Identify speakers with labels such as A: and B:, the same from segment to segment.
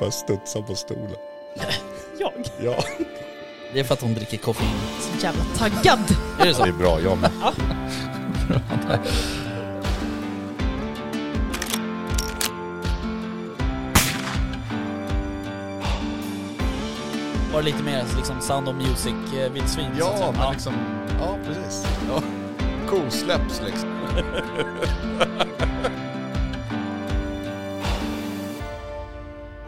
A: Bara studsar på stolen.
B: Jag?
A: Ja.
C: Det är för att hon dricker koffein.
B: Så jävla taggad.
C: Är det
A: Det
C: så?
A: är bra, jag med.
C: Var det lite mer liksom Sound of Music-vildsvin?
A: Ja, men liksom... Ja, precis. Ja. Kosläpps liksom.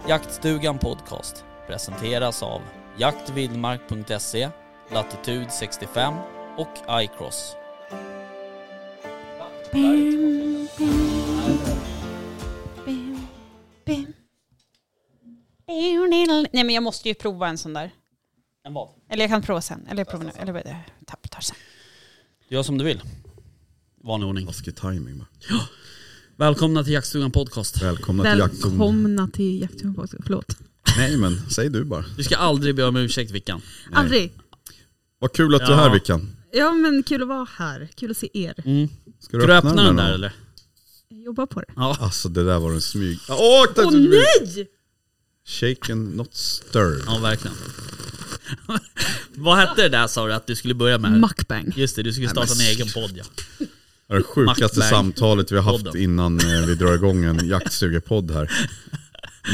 C: Jaktstugan Podcast presenteras av jaktvildmark.se, Latitud 65 och iCross.
D: Bim, bim, bim, bim. Nej men jag måste ju prova en sån där.
C: En vad?
D: Eller jag kan prova sen. Eller jag provar nu. Eller eh, tapp- tar sen.
C: Du gör som du vill. Vanlig ordning.
E: Taskig timing bara.
C: Välkomna till Jaktstugan Podcast.
E: Välkomna till jakttorn.
F: Välkomna till Jakttorn Podcast. Förlåt.
E: Nej men, säg du bara.
C: Du ska aldrig be om ursäkt Vickan.
F: Aldrig.
E: Vad kul att du är
C: Ja.
E: här Vickan.
F: Ja men kul att vara här. Kul att se er.
C: Mm.
E: Ska
C: Ska du öppna den där
E: då?
C: eller?
F: Jag jobbar på det.
C: Ja.
E: Alltså det där var en smyg. Åh, akta!
F: Åh nej!
E: Shaken not stirred.
C: Ja, verkligen. vad hette det där sa du att du skulle börja med?
F: Mukbang.
C: Just det, du skulle starta en
E: men-
C: egen podd ja.
E: Det är det sjukaste
C: Mackberg.
E: samtalet vi har haft
C: Podden.
E: innan eh, vi drar igång en jaktsugepodd här.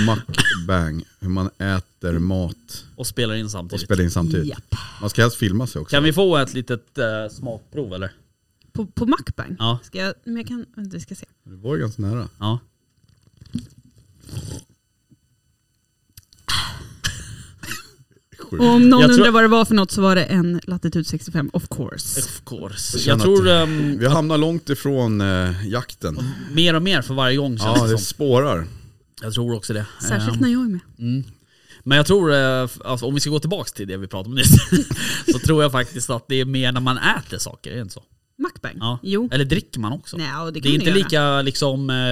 E: Mackbang, hur man äter mat
C: Och spelar in
E: och
C: samtidigt.
E: spelar in samtidigt.
F: Japp.
E: Man ska helst filma sig också.
C: Kan vi få ett litet eh, smakprov eller?
F: På, på Mukbang?
C: Ja.
F: Ska jag, men jag kan, vänta vi ska se.
E: Det var ju ganska nära.
C: Ja.
E: Sjukt.
F: Och om någon
C: Jag tror-
F: undrar vad det var för något så var det en Latitude 65 of course.
C: Of course.
E: känner
C: Jag tror
E: att-
C: ehm,
E: Vi hamnar långt ifrån eh, jakten.
C: mer och mer för varje gång känns
E: Ja,
C: det
E: det
C: som.
E: spårar.
C: Jag tror också det.
F: Särskilt
C: Ehm,
F: när jag är med.
C: Men jag tror, eh, f- alltså, om vi ska gå tillbaka till det vi pratade om nyss, så tror jag faktiskt att det är mer när man äter saker, är det inte så?
F: Mukbang?
C: Ja.
F: Jo.
C: Eller dricker man också?
F: Nej, och det
C: det
F: kan
C: är inte
F: man göra.
C: lika liksom... eh, eh, det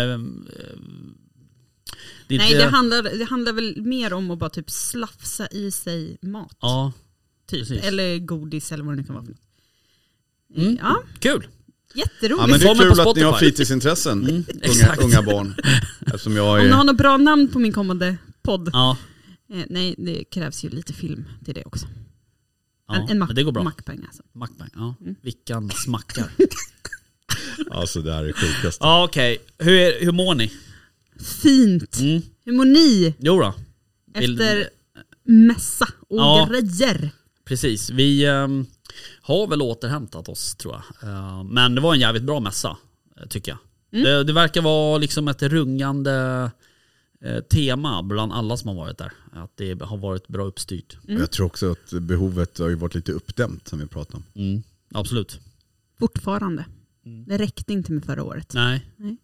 C: är
F: Nej
C: inte,
F: det handlar, det handlar väl mer om att bara typ slafsa i sig mat.
C: Ja, typ. Eller...
F: Eller godis eller vad det nu kan vara för något.
C: Mm.
F: Ja,
C: Kul!
F: jätteroligt.
E: Ja, men det
C: Får
E: är
C: man
E: kul
C: på
E: att ni har
C: Spotify?
E: fritidsintressen, unga,
C: exakt.
E: unga barn. Eftersom jag
F: Mm. Om ni har
E: är...
F: något bra namn på min kommande podd.
C: Ja,
F: Eh, nej, det krävs ju lite film till det också.
C: ja
F: en en mack,
C: men det går bra.
F: mackpeng alltså.
C: Mackbang, ja. Vickan smackar.
E: Alltså det här är sjukast.
C: ja okej, hur, är- hur mår ni?
F: Fint!
C: Mm.
F: Hur mår ni
C: Jo då. Vill-
F: efter mässa och
C: Ja.
F: grejer?
C: Precis, vi ehm, har väl återhämtat oss tror jag. Eh, men det var en jävligt bra mässa, eh, tycker jag.
E: Mm.
C: Det, det verkar vara liksom ett rungande eh, tema bland alla som har varit där. Att det har varit bra uppstyrt.
F: Mm.
E: Jag tror också att behovet har ju varit lite uppdämt som vi pratade om.
C: Mm. Absolut.
F: Fortfarande. Det räckte inte med förra året.
C: Mm. Nej.
F: Nej.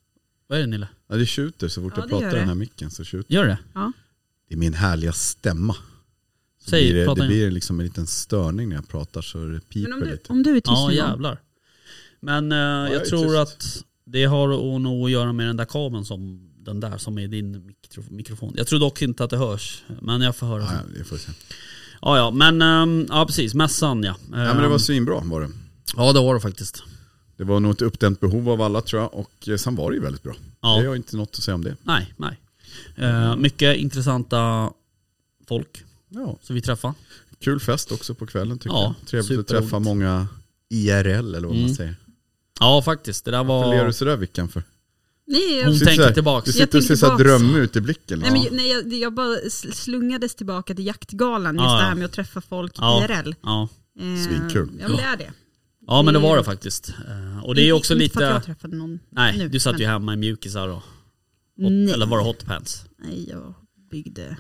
C: Vad är det Nille?
E: Ja, det tjuter så fort
F: Ja,
E: jag
F: det gör
E: pratar i den
F: det.
E: här micken. Så tjuter.
C: Gör det?
E: Det är min härliga stämma. Så
C: Säg,
E: blir det,
C: prata
E: det
C: igen.
E: blir liksom en liten störning när jag pratar så det
F: Men
E: piper
F: om du,
E: lite.
F: om du är tyst
C: Ja
F: nu,
C: jävlar. Men eh,
E: jag är
C: jag tror
E: tyst.
C: att det har att- nog att göra med den där kabeln som den där som är din mikro, mikrofon. Jag tror dock inte att det hörs, men jag får höra.
E: Ja,
C: sen.
E: ja, det får vi se.
C: Ja, ja, men ehm, ja, precis. Mässan ja. Ehm,
E: ja, men det var
F: Um.
E: svinbra var det.
C: Ja, det var det faktiskt.
E: Det var nog ett uppdämt behov av alla tror jag och eh, sen var det ju väldigt bra.
C: Ja.
E: Det har ju inte något att säga om det.
C: Nej, nej. Eh, mycket intressanta folk
E: Ja.
C: som vi träffade.
E: Kul fest också på kvällen tycker
C: Ja,
E: jag. Trevligt att
C: superroligt.
E: träffa många IRL eller vad
C: Mm.
E: man säger.
C: Ja, faktiskt. Det där
E: Varför ler du
C: var...
E: sådär Vickan för?
F: Nej,
C: Hon
F: jag,
E: Sitter
C: tänker
E: så här-
C: tillbaks.
E: Du
C: Jag
E: sitter och ser
F: tänker
E: såhär
F: tillbaks.
E: drömmig ut i blicken. liksom.
F: nej, men, ju- nej, jag, jag bara sl- slungades tillbaka till jaktgalan, just
C: Ja,
F: det
C: ja.
F: här med att träffa folk
C: Ja.
F: IRL.
C: Ja.
F: Eh,
E: Svinkul.
F: Ja, men det är det.
C: ja, men det
F: Mm.
C: var det faktiskt. Eh, och det är också
F: inte Inte för att
C: lite...
F: jag träffade någon
C: Nej,
F: nu,
C: du satt ju
F: men-
C: hemma i mjukisar och... Hot,
F: Nej.
C: eller var det hotpants?
F: Nej, jag byggde,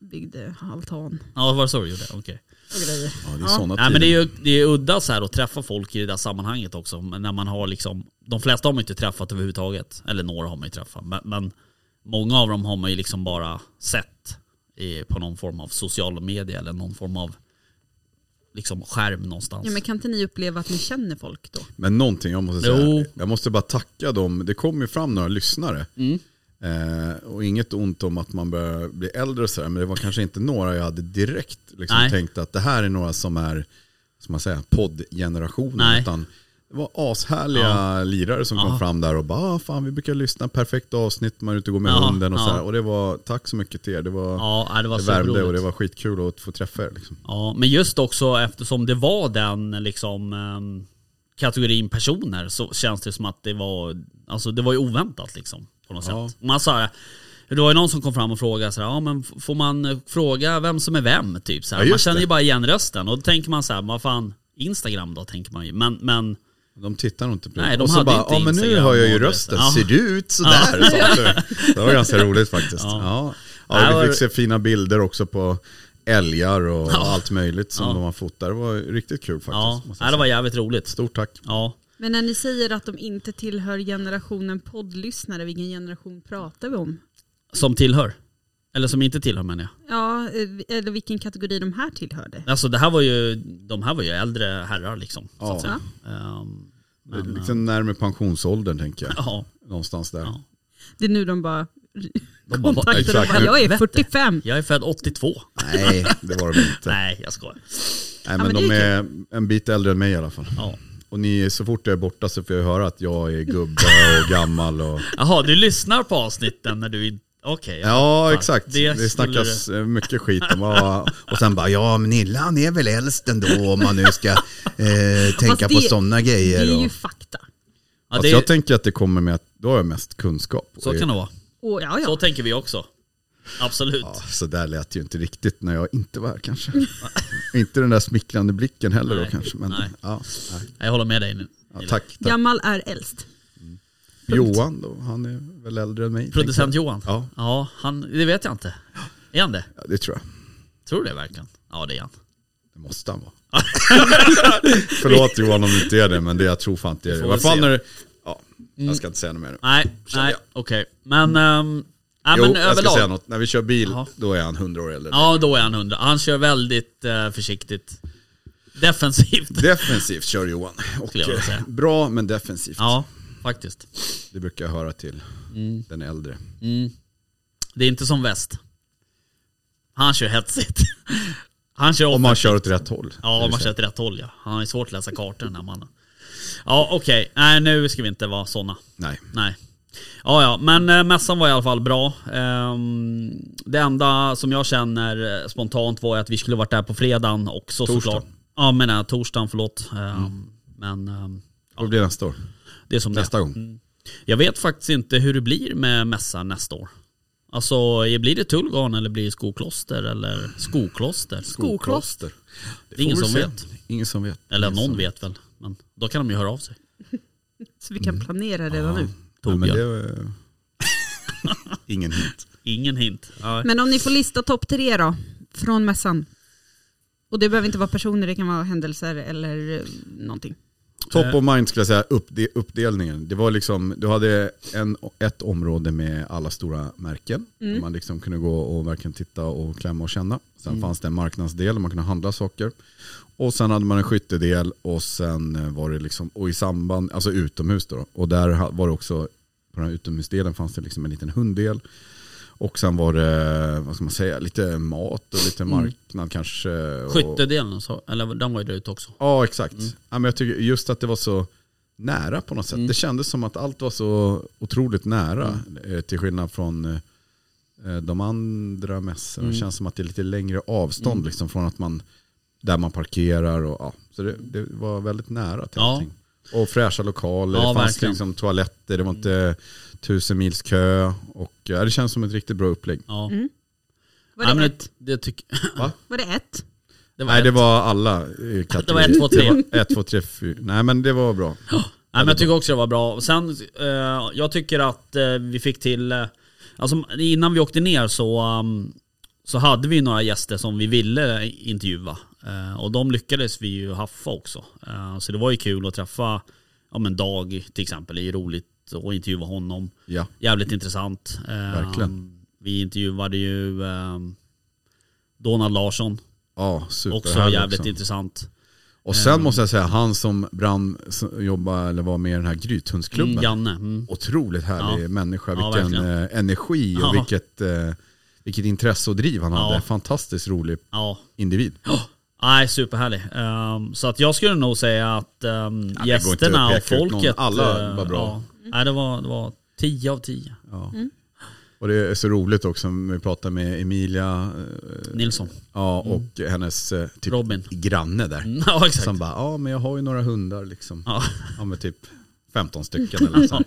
F: byggde altan
C: Ja, var det så du gjorde? Okej.
F: och grejer.
E: Ja, det är såna
C: Nej, men det
E: tider.
C: är ju det är udda så här att träffa folk i det där sammanhanget också. Men När man har liksom... De flesta har man ju inte träffat överhuvudtaget. Eller några har man ju träffat. Men, men många av dem har man ju liksom bara sett i, på någon form av social media eller någon form av liksom skärm någonstans.
F: Ja, men kan inte ni uppleva att ni känner folk då?
E: Men någonting jag måste säga.
C: Jo.
E: Jag måste bara tacka dem. Det kom ju fram några lyssnare.
C: Mm.
E: Eh, och inget ont om att man börjar bli äldre och sådär. Men det var kanske inte några jag hade direkt liksom,
C: Nej.
E: tänkt att det här är några som är, som man säger, poddgenerationen.
C: Nej.
E: Utan Det var ashärliga lirare som kom
C: Ja.
E: fram där och bara, ah, fan vi brukar lyssna, perfekt avsnitt, man är ute och går med
C: Ja,
E: hunden och
C: ja.
E: så här. Och det var, tack så mycket till er, det var,
C: Ja, nej, det var
E: det värmde och
C: superroligt.
E: det var skitkul att få träffa er. Liksom.
C: Ja, men just också eftersom det var den liksom ehm, kategorin personer så känns det som att det var, alltså det var ju oväntat liksom på något
E: Ja.
C: sätt. Man sa det, det var ju någon som kom fram och frågade så här, ja men f- får man eh, fråga vem som är vem typ så här.
E: Ja,
C: Man
E: just
C: känner ju
E: det.
C: bara igen rösten och då tänker man så här, vad fan Instagram då tänker man ju, men, men
E: De tittar nog inte på
C: Nej, de
E: Och så
C: hade
E: bara,
C: inte
E: ja men nu
C: Instagram
E: hör jag ju
C: och det-
E: rösten,
C: Ja.
E: ser du ut sådär? Ja. Det var ganska roligt faktiskt. Ja. Ja.
C: Nej,
E: vi
C: var-
E: fick se fina bilder också på älgar och
C: Ja.
E: allt möjligt som
C: Ja.
E: de har fotat. Det var riktigt kul faktiskt.
C: ja,
E: måste jag
C: nej, det
E: säga.
C: var jävligt roligt.
E: Stort tack.
C: Ja,
F: Men när ni säger att de inte tillhör generationen poddlyssnare, vilken generation pratar vi om?
C: som tillhör. Eller som inte tillhör menar jag.
F: Ja, eh, eller vilken kategori de här tillhörde.
C: Alltså det här var ju, de här var ju äldre herrar liksom. Så
E: Ja.
C: att säga. Ehm, men, eh,
E: liksom närmare pensionsåldern tänker jag.
C: ja.
E: Någonstans där.
C: Ja.
F: Det är nu de bara
C: De bara, "Vad-
F: kontaktar och
E: exakt.
F: bara, jag är
C: Helvete.
F: 45.
C: Jag är född 82.
E: Nej, det var de inte. Nej,
C: Nej, jag skojar.
E: men,
F: men det
E: de
F: är
E: är en bit äldre än mig i alla fall.
C: Ja.
E: Och ni, så fort jag är borta så får jag höra att jag är gubbe och gammal. Och...
C: Jaha, du lyssnar på avsnitten när du... in- Okej.
E: Ja, exakt.
C: Det
E: Det,
C: skulle
E: snackas eh, mycket skit om. ja, Och sen bara, ja men Nilla han är väl äldst ändå om man nu ska eh, tänka på
F: det-
E: sådana
F: Det
E: grejer.
F: är
E: Och...
F: ju fakta.
C: Ja,
E: Fast
C: det,
E: jag tänker att det kommer med att då har jag mest kunskap.
C: så kan det vara.
F: Och ja,
C: Så
F: ja.
C: tänker vi också. Absolut.
E: Ja, så där lät ju inte riktigt när jag inte var här kanske. inte den där smickrande blicken heller
C: Nej.
E: då kanske. Men,
C: Nej.
E: Ja, nej.
C: Jag håller med dig nu.
E: Ja, tack, tack.
F: Gammal är äldst.
E: Johan då, han är väl äldre än mig.
C: Producent
E: tänker
C: Johan.
E: Ja.
C: ja, han... Det vet jag inte. Är han det?
E: jag. Ja, det tror jag.
C: Tror du det verkligen? Ja, det är han.
E: Det måste han vara. Förlåt Johan om du inte är det, men det jag tror fan inte är det.
C: får
E: Vad
C: väl
E: fan
C: se.
E: är det? Ja, jag ska inte säga något mer nu.
C: Nej,
E: Känner
C: nej,
E: jag.
C: okej. Men... ehm, nej,
E: Jo,
C: men
E: jag ska säga
C: överlag.
E: något. När vi kör bil,
C: Jaha.
E: då är han 100 år äldre.
C: Ja, då är han 100. Han kör väldigt eh, försiktigt. Defensivt.
E: Defensivt kör Johan. Och,
C: Skulle jag vilja säga.
E: eh, bra, men defensivt.
C: Ja, Mm. faktiskt.
E: Det brukar jag höra till den äldre.
C: Det är inte som väst. Han kör hetsigt. Han kör
E: Om
C: offensivt.
E: man kör åt rätt håll.
C: Ja, om man kör åt rätt håll ja. Han är svårt att läsa kartor den här mannen. Ja, okej. Nej, nu ska vi inte vara sådana.
E: Nej.
C: Nej. Ja, ja, men eh, mässan var i alla fall bra. Ehm, det enda som jag känner eh, spontant var att vi skulle varit där på fredagen också
E: Torsdagen.
C: såklart. Ja, men nej, torsdagen, förlåt. Ehm,
E: Mm.
C: Men ehm,
E: Det blir nästa år.
C: det är som det är.
E: Nästa gång.
C: Jag vet faktiskt inte hur det blir med mässan nästa år. Alltså blir det Tullgarn eller blir det Skokloster eller Skokloster?
E: Skokloster.
C: Det är ingen
E: Får vi
C: som
E: se.
C: vet.
E: Ingen som vet.
C: Eller
E: Ingen
C: någon
E: som-
C: vet väl. Men då kan de ju höra av sig.
F: Så vi
C: Mm.
F: kan planera redan nu.
E: Ja, men
C: Torbjörn.
E: det... eh, Ingen hint.
C: Ingen hint. Nej.
F: Men om ni får lista topp tre då, från mässan. Och det behöver inte vara personer, det kan vara händelser eller eh, någonting.
E: Top of mind skulle jag säga, upp, det, uppdelningen. Det var liksom, du hade en, ett område med alla stora märken. Där man liksom kunde gå och verkligen titta och klämma och känna. Sen fanns det en marknadsdel där man kunde handla saker. Och sen hade man en skyttedel och sen eh, var det liksom, och i samband, alltså utomhus då. Och där ha- var det också, på den här utomhusdelen fanns det liksom en liten hunddel. Och sen var det, vad ska man säga, lite mat och lite marknad kanske. och-
C: Skyttedelen, så, eller den var ju där ute också.
E: Ja, exakt.
C: Mm.
E: Ja, men jag tycker just att det var så nära på något sätt. Det kändes som att allt var så otroligt nära
C: Mm.
E: eh, till skillnad från eh, de andra mässorna.
C: Mm.
E: Det känns som att det är lite längre avstånd liksom, från att man, där man parkerar. Och, ja. Så det, det var väldigt nära till
C: Ja.
E: allting. Och fräscha lokaler,
C: Ja,
E: det fanns
C: verkligen. Mm.
E: liksom toaletter, det var inte tusen mils kö. Och, ja, det känns som ett riktigt bra upplägg.
C: Ja.
F: Var det,
C: Nej, men
F: ett?
C: det, det tycker
F: Var det ett?
C: det var
E: Nej, det
C: ett.
E: var alla eh, kategorier.
C: ett, två, tre.
E: Det var ett, två, tre, fyra. Nej, men det var bra.
C: Nej, men jag tycker också det var bra. Och Sen, eh, jag tycker att eh, vi fick till, eh, alltså innan vi åkte ner så, um, så hade vi några gäster som vi ville intervjua. Eh, och de lyckades vi ju haffa också. Eh, så det var ju kul att träffa, ja men Dag till exempel, det är ju roligt att intervjua honom.
E: Ja.
C: Jävligt intressant. Eh,
E: Verkligen.
C: Vi intervjuade ju eh, Donald Larsson,
E: Ja,
C: också
E: superhärlig
C: jävligt intressant. Mm.
E: Och sen måste jag säga, han som brann, som jobbade eller var med i den här grythundsklubben.
C: Mm, Janne. Mm.
E: Otroligt härlig
C: Ja.
E: människa,
C: Ja,
E: vilken
C: verkligen.
E: eh, energi och
C: Ja.
E: vilket, eh, vilket intresse och driv han
C: Ja.
E: hade. Fantastiskt rolig
C: Ja,
E: individ.
C: Nej, superhärlig. Ehm, så att jag skulle nog säga att ehm,
E: går
C: gästerna
E: inte
C: och
E: att peka ut någon.
C: folket...
E: Alla
C: eh,
E: var bra.
C: Ja, nej, det var, det var 10 av 10.
E: Ja. Och det är så roligt också, vi pratar med Emilia eh,
C: Nilsson.
E: ja, och hennes eh, typ
C: Mm. Robin.
E: granne där.
C: Ja, exakt.
E: Som bara, ja men jag har ju några hundar liksom.
C: Ja,
E: Ja men typ 15 stycken eller så.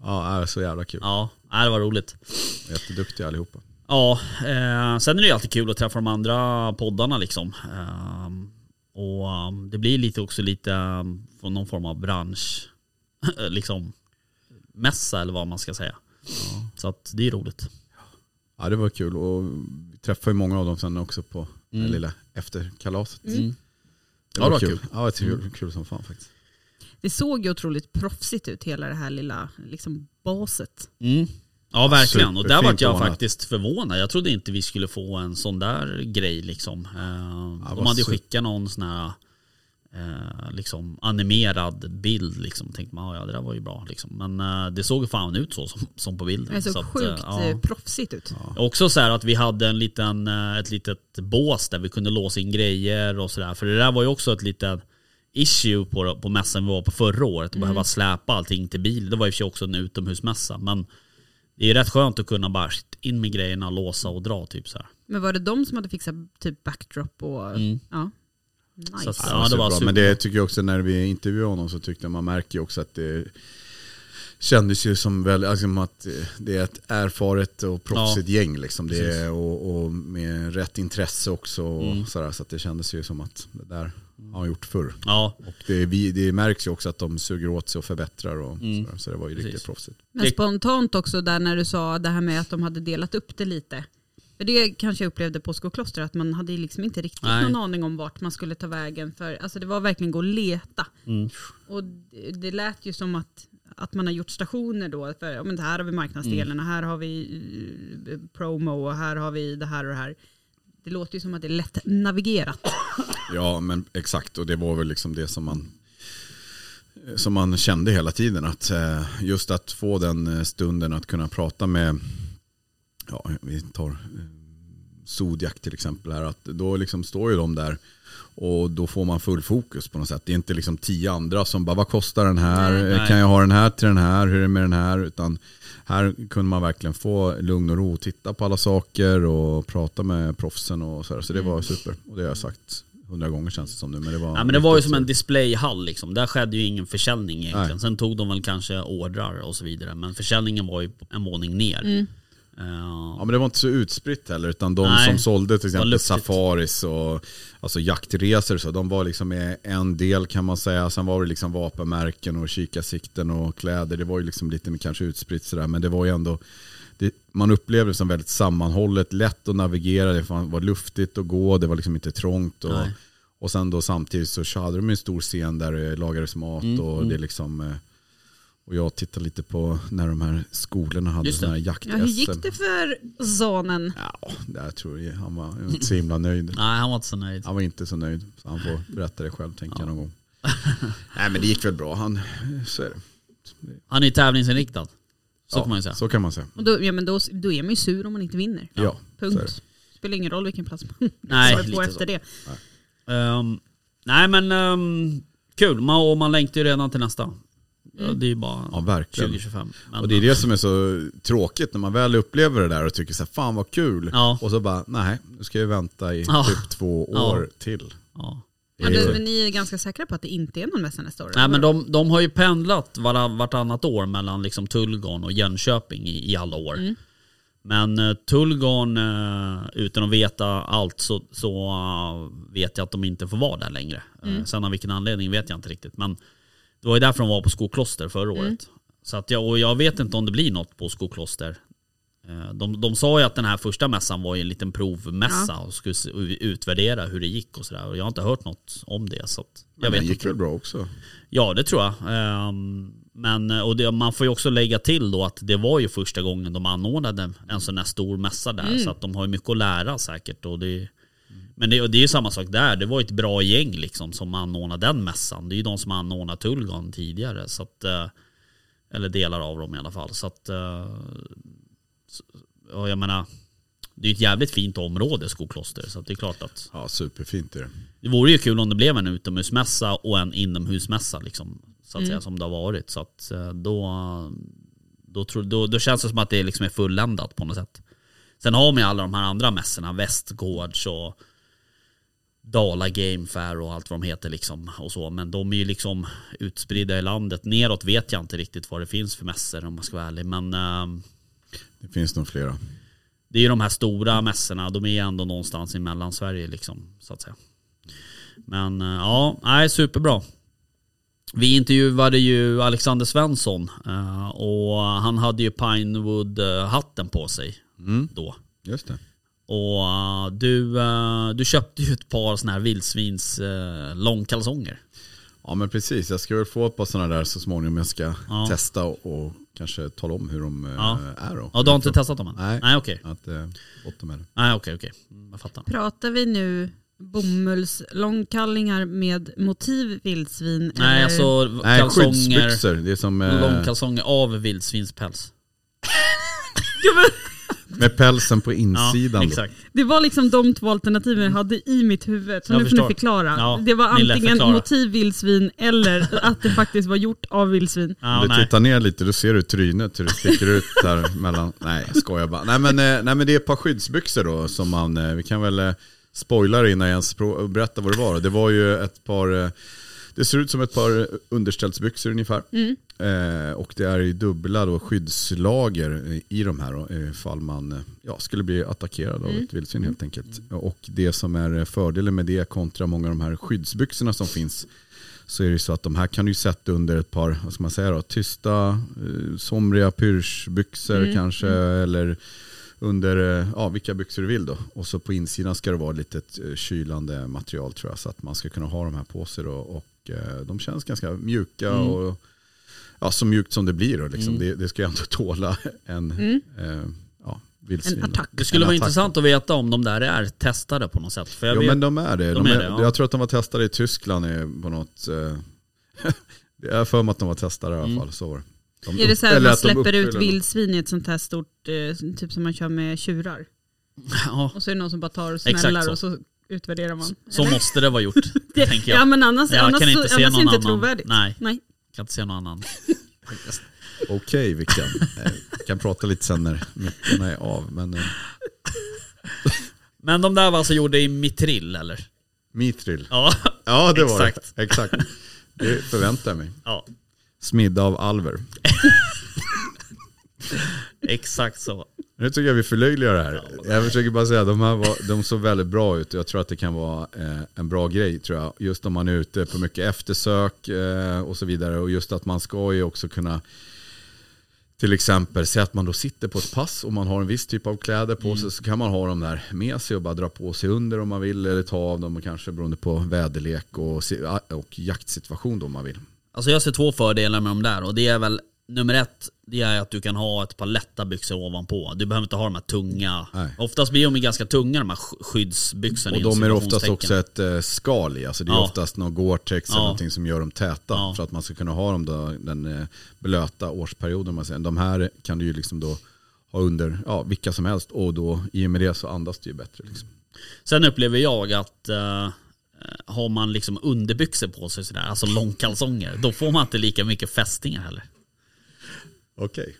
E: Ja, är så jävla kul.
C: ja nej, det var roligt.
E: Jätteduktiga allihopa.
C: Ja, eh, sen är det ju alltid kul att träffa de andra poddarna liksom. Ehm, och ehm, det blir lite också lite ehm, från någon form av bransch, liksom mässa eller vad man ska säga. Så att det är roligt.
E: Ja det var kul och vi träffade ju många av dem sen också på det här lilla efterkalaset. Det
C: Ja, det
E: var
C: var
E: kul. Mm.
C: kul.
E: Mm. Ja det var kul, kul som fan faktiskt.
F: Det såg ju otroligt proffsigt ut hela det här lilla liksom, baset.
C: Mm. Ja verkligen, och där
E: superfint
C: vart jag
E: ordnat.
C: faktiskt förvånad. Jag trodde inte vi skulle få en sån där grej liksom. Ehm,
E: Ja,
C: De
E: vad
C: hade
E: super-
C: skickat någon sån här eh, liksom animerad bild liksom. Tänkte man, "Ah, ja det där var ju bra liksom. Men eh, det såg fan ut så som, som på bilden.
F: Det såg
C: Så att, eh,
F: sjukt
C: ja.
F: eh, proffsigt ut.
C: Också så här att vi hade en liten, eh, ett litet bås där vi kunde låsa in grejer och sådär. För det där var ju också ett litet issue på, på mässan vi var på förra året. Att behöva släpa allting till bil. Det var ju för sig också en utomhusmässa. Men det är rätt skönt att kunna bara shit, in med grejerna, låsa och dra typ så här.
F: Men var det de som hade fixat typ backdrop och... Ja.
C: Mm. Så
F: Nice.
C: att, ja, det var
E: superbra.
C: super.
E: Men det tycker jag också när vi intervjuade honom så tyckte jag man märker ju också att det kändes ju som väl, alltså, som att det är ett erfaret och proffsigt gäng liksom. Det är, och, och med rätt intresse också och sådär. Så att det kändes ju som att det där har han gjort förr.
C: Ja,
E: Och det, är vi, det märks ju också att de suger åt sig och förbättrar och sådär. Så det var ju riktigt
C: Precis.
E: proffsigt.
F: Men
C: Det-
F: spontant också där när du sa det här med att de hade delat upp det lite. För det kanske jag upplevde på Skokloster, att man hade ju liksom inte riktigt
C: Nej.
F: någon aning om vart man skulle ta vägen. För alltså det var verkligen gå och leta. Och det, det lät ju som att, att man har gjort stationer då. För ja, men det här har vi marknadsdelen
C: Mm.
F: och här har vi eh, promo och här har vi det här och det här. Det låter ju som att det är lätt navigerat.
E: Ja men exakt och det var väl liksom det som man som man kände hela tiden. Att eh, just att få den eh, stunden att kunna prata med, ja vi tar eh, Zodiac till exempel här, att då liksom står ju de där och då får man full fokus på något sätt. Det är inte liksom tio andra som bara, vad kostar den här? Eh, Kan jag ha den här till den här? Hur är det med den här? Utan här kunde man verkligen få lugn och ro, titta på alla saker och prata med proffsen och sådär. Så det var super. Och det har jag sagt hundra gånger känns det som nu. Men det var,
C: Mm. Ja, men det var ju
E: riktigt
C: som en
E: så-
C: displayhall liksom. Där skedde ju ingen försäljning egentligen. Sen tog de väl kanske ordrar och så vidare. Men försäljningen var ju en våning ner. Eh,
E: Ja men det var inte så utspritt heller utan de
C: Nej.
E: som sålde till exempel
C: luftigt.
E: safaris och alltså jaktresor så de var liksom med en del kan man säga. Sen var det liksom vapenmärken och kikarsikten och kläder. Det var ju liksom lite mer kanske utspritt sådär men det var ju ändå det, man upplevde det som väldigt sammanhållet, lätt att navigera, det fan- var luftigt att gå, det var liksom inte trångt. Och,
C: Nej.
E: och sen då samtidigt så hade de en stor scen där det lagades mat
C: Mm,
E: och det liksom eh, och jag tittade lite på när de här skolorna hade
C: Just det.
E: sådana här jakt
F: Ja, hur gick det för Zanen?
E: Ja, där tror jag han var inte så himla nöjd.
C: Nej, han var inte så nöjd.
E: Han var inte så nöjd, så han får berätta det själv tänker jag någon gång. Nej men det gick väl bra, han, så är det.
C: Han är ju tävlingsinriktad. Så
E: ja,
C: kan man ju säga.
E: Så kan man säga.
F: Och då, ja, men då, då är man ju sur om man inte vinner.
E: Ja, så är det.
F: Punkt. Spelar ingen roll vilken plats man
C: Nej,
F: går på
C: lite
F: efter
C: så.
F: det.
C: Ehm, nej men ehm, kul, man, och man längtar ju redan till nästa. Ja, Det är ju bara
E: Mm. Ja, verkligen.
C: 2025. Men,
E: Och det är det som är så tråkigt när man väl upplever det där och tycker så här, fan vad kul.
C: Ja.
E: Och så bara, nej, nu ska jag vänta i
C: Ja.
E: typ två
C: Ja.
E: år till.
C: ja.
F: Ja, men,
E: Det-
F: men ni är ganska säkra på att det inte är någon mässa nästa år?
C: Nej
F: eller?
C: men de, de har ju pendlat varann, vartannat år mellan liksom Tullgarn och Jönköping i, i alla år. Men eh, Tullgarn, eh, utan att veta allt så, så eh, vet jag att de inte får vara där längre. Eh, Sen av vilken anledning vet jag inte riktigt. Men det var ju därför de var på Skokloster förra året. Så att jag, och jag vet inte om det blir något på Skokloster. Eh, De, de sa ju att den här första mässan var ju en liten provmässa och skulle se- utvärdera hur det gick och sådär. Och jag har inte hört något om det. Så att jag
E: Men
C: vet
E: det gick
C: inte.
E: väl bra också.
C: Ja, det tror jag. Ehm, Men, och det, man får ju också lägga till då att det var ju första gången de anordnade en sån här stor mässa där. Så att de har ju mycket att lära säkert. Och det, men det, och det är ju samma sak där. Det var ju ett bra gäng liksom som anordnade den mässan. Det är ju de som anordnade Tullgarn tidigare. Så att, eh, eller delar av dem i alla fall. Så att, eh, så- ja, jag menar, Det är ju ett jävligt fint område, Skokloster, så att det är klart att
E: Ja, superfint är det.
C: det vore ju kul om det blev en utomhusmässa och en inomhusmässa liksom, så att säga, som det har varit. Så att eh, då, då, tror, då, då känns det som att det liksom är fulländat på något sätt. Sen har man ju alla de här andra mässorna, Västgårds och Dala Game Fair och allt vad de heter liksom och så. Men de är ju liksom utspridda i landet. Neråt vet jag inte riktigt vad det finns för mässor om man ska vara ärlig. Men ehm,
E: Det finns nog flera.
C: det är ju de här stora mässorna, de är ju ändå någonstans i mellansverige liksom, så att säga. Men eh, ja, nej, superbra. Vi intervjuade ju Alexander Svensson eh, och han hade ju Pinewood-hatten på sig
E: Mm.
C: då.
E: Just det.
C: Och eh, du, eh, du köpte ju ett par sådana här vildsvins eh, långkalsonger.
E: Ja men precis, jag ska väl få ett par sådana där så småningom. Jag ska
C: Ja.
E: testa och, och kanske tala om hur de eh,
C: Ja.
E: är. Då.
C: Ja, du har inte testat dem än?
E: Nej.
C: Nej, okej.
E: Att, eh, fått dem här.
C: Nej, okej, okej. Mm, Jag fattar.
F: Pratar vi nu bomullslångkallingar med motiv vildsvin?
C: Nej,
F: eller?
C: alltså
E: Nej,
C: kalsonger,
E: skyddsbyxor. Det är som eh,
C: långkalsonger av vildsvinspäls.
E: med pälsen på insidan.
C: Ja,
E: då.
C: exakt.
F: Det var liksom de två alternativen jag hade i mitt huvud. Så
C: Jag
F: nu
C: förstår.
F: får ni förklara.
C: Ja,
F: det var
C: Nille,
F: antingen
C: förklara.
F: motiv vildsvin eller att det faktiskt var gjort av vildsvin.
C: Ja,
E: Om du
C: nej.
E: tittar ner lite då ser du trynet hur det sticker ut där mellan. Nej jag skojar bara. Nej men, eh, nej men det är ett par skyddsbyxor då som man, eh, vi kan väl eh, spoila det innan jag ens pro- berättar vad det var. då. Det var ju ett par, eh, det ser ut som ett par eh, underställsbyxor ungefär. Eh, och det är ju dubbla då skyddslager eh, i de här då, eh, ifall man eh, ja, skulle bli attackerad av ett vildsvin helt enkelt. Och det som är eh, fördelen med det kontra många av de här skyddsbyxorna som finns så är det ju så att de här kan du ju sätta under ett par, vad ska man säga då, tysta, eh, somriga pyrschbyxor kanske eller under eh, ja, vilka byxor du vill då. Och så på insidan ska det vara lite eh, kylande material tror jag så att man ska kunna ha de här på sig då. Och eh, de känns ganska mjuka
F: Mm.
E: och ja, så mjukt som det blir då liksom. Det, det ska ju ändå tåla en eh, ja, vildsvin.
F: Mm. En attack.
C: Det skulle
E: En
C: vara
E: attack.
C: intressant att veta om de där är testade på något sätt. För jag
E: Jo
C: vet,
E: men de är det.
C: de
E: De
C: är
E: är,
C: det, ja.
E: Jag tror att de var testade i Tyskland eh, på något... eh, Jag har för mig att de var testade i alla
C: Mm.
E: fall. Så var det. De
F: Är det
E: upp-
F: så här att
E: eller
F: man
E: att de
F: släpper ut
E: uppfyller något.
F: vildsvin i ett sånt här stort, eh, typ som man kör med tjurar?
C: ja,
F: Och så är det någon som bara tar och
C: Exakt
F: smällar
C: så.
F: och så utvärderar man.
C: så måste det vara gjort, tänker jag.
F: Ja men annars,
C: Jag
F: annars,
C: kan inte
F: så-
C: se
F: annars är
C: någon
F: det inte
C: annan.
F: trovärdigt.
C: Nej.
F: Nej.
C: Jag kan inte se någon annan. Faktiskt.
E: Okej vi kan, eh, vi kan prata lite sen när mickarna är av. Men eh,
C: Men de där var alltså gjorda i mitrill eller?
E: Mithril.
C: Ja,
E: Ja det var
C: Exakt.
E: det. Exakt. Det förväntar jag mig.
C: ja
E: Smidda av alver.
C: exakt så.
E: Nu tycker jag vi förlöjligar det här. Jag försöker bara säga, de här var, de såg väldigt bra ut och jag tror att det kan vara eh, en bra grej tror jag. Just om man är ute på mycket eftersök eh, och så vidare. Och just att man ska ju också kunna till exempel, säg att man då sitter på ett pass och man har en viss typ av kläder på sig så kan man ha dem där med sig och bara dra på sig under om man vill eller ta av dem och kanske beroende på väderlek och, si- och jaktsituation då om man vill.
C: Alltså jag ser två fördelar med de där och det är väl nummer ett, det är att du kan ha ett par lätta byxor ovanpå. Du behöver inte ha de här tunga.
E: Nej.
C: Oftast blir de ju ganska tunga de här sk- skyddsbyxorna.
E: Och de är
C: inom
E: oftast också
C: citationstecken.
E: ett eh, skal i, alltså det är
C: Ja.
E: oftast någon Gore-Tex eller
C: Ja.
E: någonting som gör dem täta
C: Ja.
E: för att man ska kunna ha dem då, den eh, blöta årsperioden. om Man säger. De här kan du ju liksom då ha under ja, vilka som helst och då i och med det så andas det ju bättre. Liksom.
C: Sen upplever jag att eh, har man liksom underbyxor på sig sådär, alltså långkalsonger, då får man inte lika mycket fästingar heller.
E: Okej.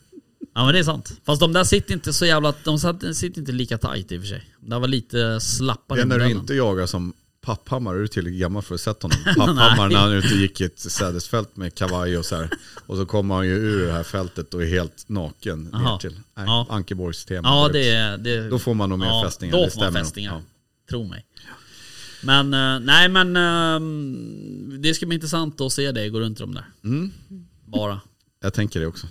C: Ja men det är sant. Fast de där sitter inte så jävla, de satt- sitter inte lika tajt i och för sig. De var lite slappare
E: Det är
C: i
E: när du
C: modellen.
E: inte jagar som Papphammar, är du tillräckligt gammal för att ha sett honom? Papphammar när han ute gick i ett sädesfält med kavaj och så här. Och så kommer han ju ur det här fältet och är helt naken ner
C: Aha.
E: till Nej,
C: Ja.
E: Ankeborgstema.
C: Ja
E: direkt.
C: det är... Det,
E: Då får man nog mer
C: ja,
E: fästingar,
C: Då
E: det
C: får man
E: stämmer nog.
C: fästingar.
E: Ja.
C: Tro mig. Men eh, nej men eh, det ska bli intressant att se dig gå runt i de där.
E: Mm.
C: Bara.
E: Jag tänker det också.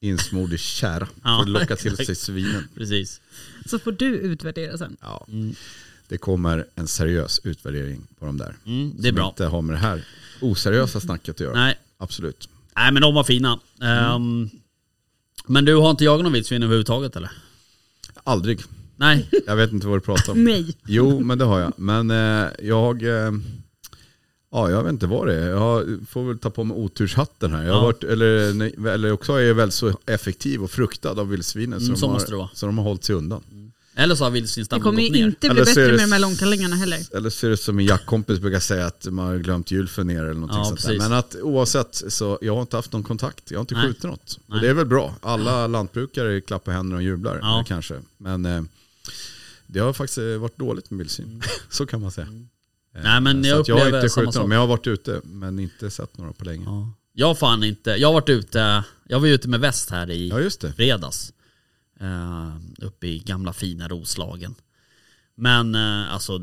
E: Insmord i tjära
C: Ja,
E: för att locka till
C: exakt.
E: sig svinen.
C: Precis.
F: Så får du utvärdera sen.
E: Ja.
C: Mm.
E: Det kommer en seriös utvärdering på de där.
C: Mm, det är
E: Som
C: bra.
E: inte har med det här oseriösa snacket att göra.
C: Nej.
E: Absolut.
C: Nej men de var fina. Ehm, men du har inte jagat någon vildsvin överhuvudtaget eller?
E: Aldrig.
C: Nej.
E: Jag vet inte vad du pratar om.
F: Nej.
E: Jo, men det har jag. Men eh, jag... Eh, Ja, jag vet inte vad det är. Jag har- får väl ta på mig oturshatten här. Jag har
C: Ja.
E: varit, eller, nej, eller också är jag väl så effektiv och fruktad av vildsvinen
C: Mm, så
E: de,
C: måste det
E: har,
C: vara.
E: så de har hållit sig undan.
C: Eller så har
F: Det
C: vildsvinsstammen gått
F: kommer ju
C: ner.
F: inte bli
E: Eller så är det-
F: bättre med de här långkallingarna heller.
E: Eller så är det som min jaktkompis brukar säga att man har glömt julfen ner eller någonting
C: Ja,
E: sånt där.
C: precis.
E: Men att oavsett så, jag har inte haft någon kontakt. Jag har inte
C: Nej.
E: skjutit något.
C: Nej.
E: Och det är väl bra. Alla lantbrukare klappar händer och jublar
C: Ja.
E: eh, kanske. Men eh, det har faktiskt eh, varit dåligt med
C: Mm.
E: vildsvin. så kan man säga. Eh,
C: Nej, men
E: så
C: jag
E: att jag har
C: upplever
E: inte
C: samma
E: skjutit
C: sak.
E: någon, men jag har varit ute men inte sett några på länge. Ja,
C: Ja. Jag har fan inte, jag har varit ute, jag var ju ute med väst här i
E: just det.
C: fredags. Eh, uppe i gamla fina Roslagen. Men eh, alltså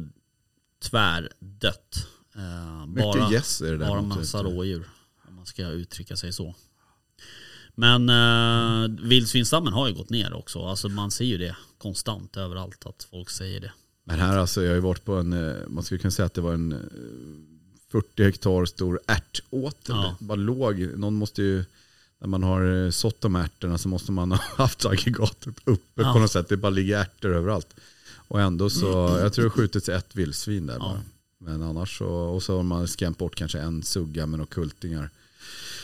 C: tvärdött. Eh,
E: Mycket
C: bara
E: gäss är det där. eh.
C: bara
E: mot
C: massa
E: ute.
C: rådjur. Om man ska uttrycka sig så. Men eh, vildsvinsstammen har ju gått ner också. Alltså man ser ju det konstant överallt att folk säger det.
E: Men här alltså, jag har ju varit på en, eh, man skulle kunna säga att det var en eh, 40 hektar stor ärtåtel.
C: Ja.
E: Bara låg, någon måste ju, när man har eh, sått de ärtorna så måste man ha haft aggregatet uppe
C: Ja.
E: på något sätt. Det bara ligger ärtor överallt. Och ändå så, jag tror det har skjutits ett vildsvin där bara. Men annars så, och så har man skrämt bort kanske en sugga med några kultingar. Med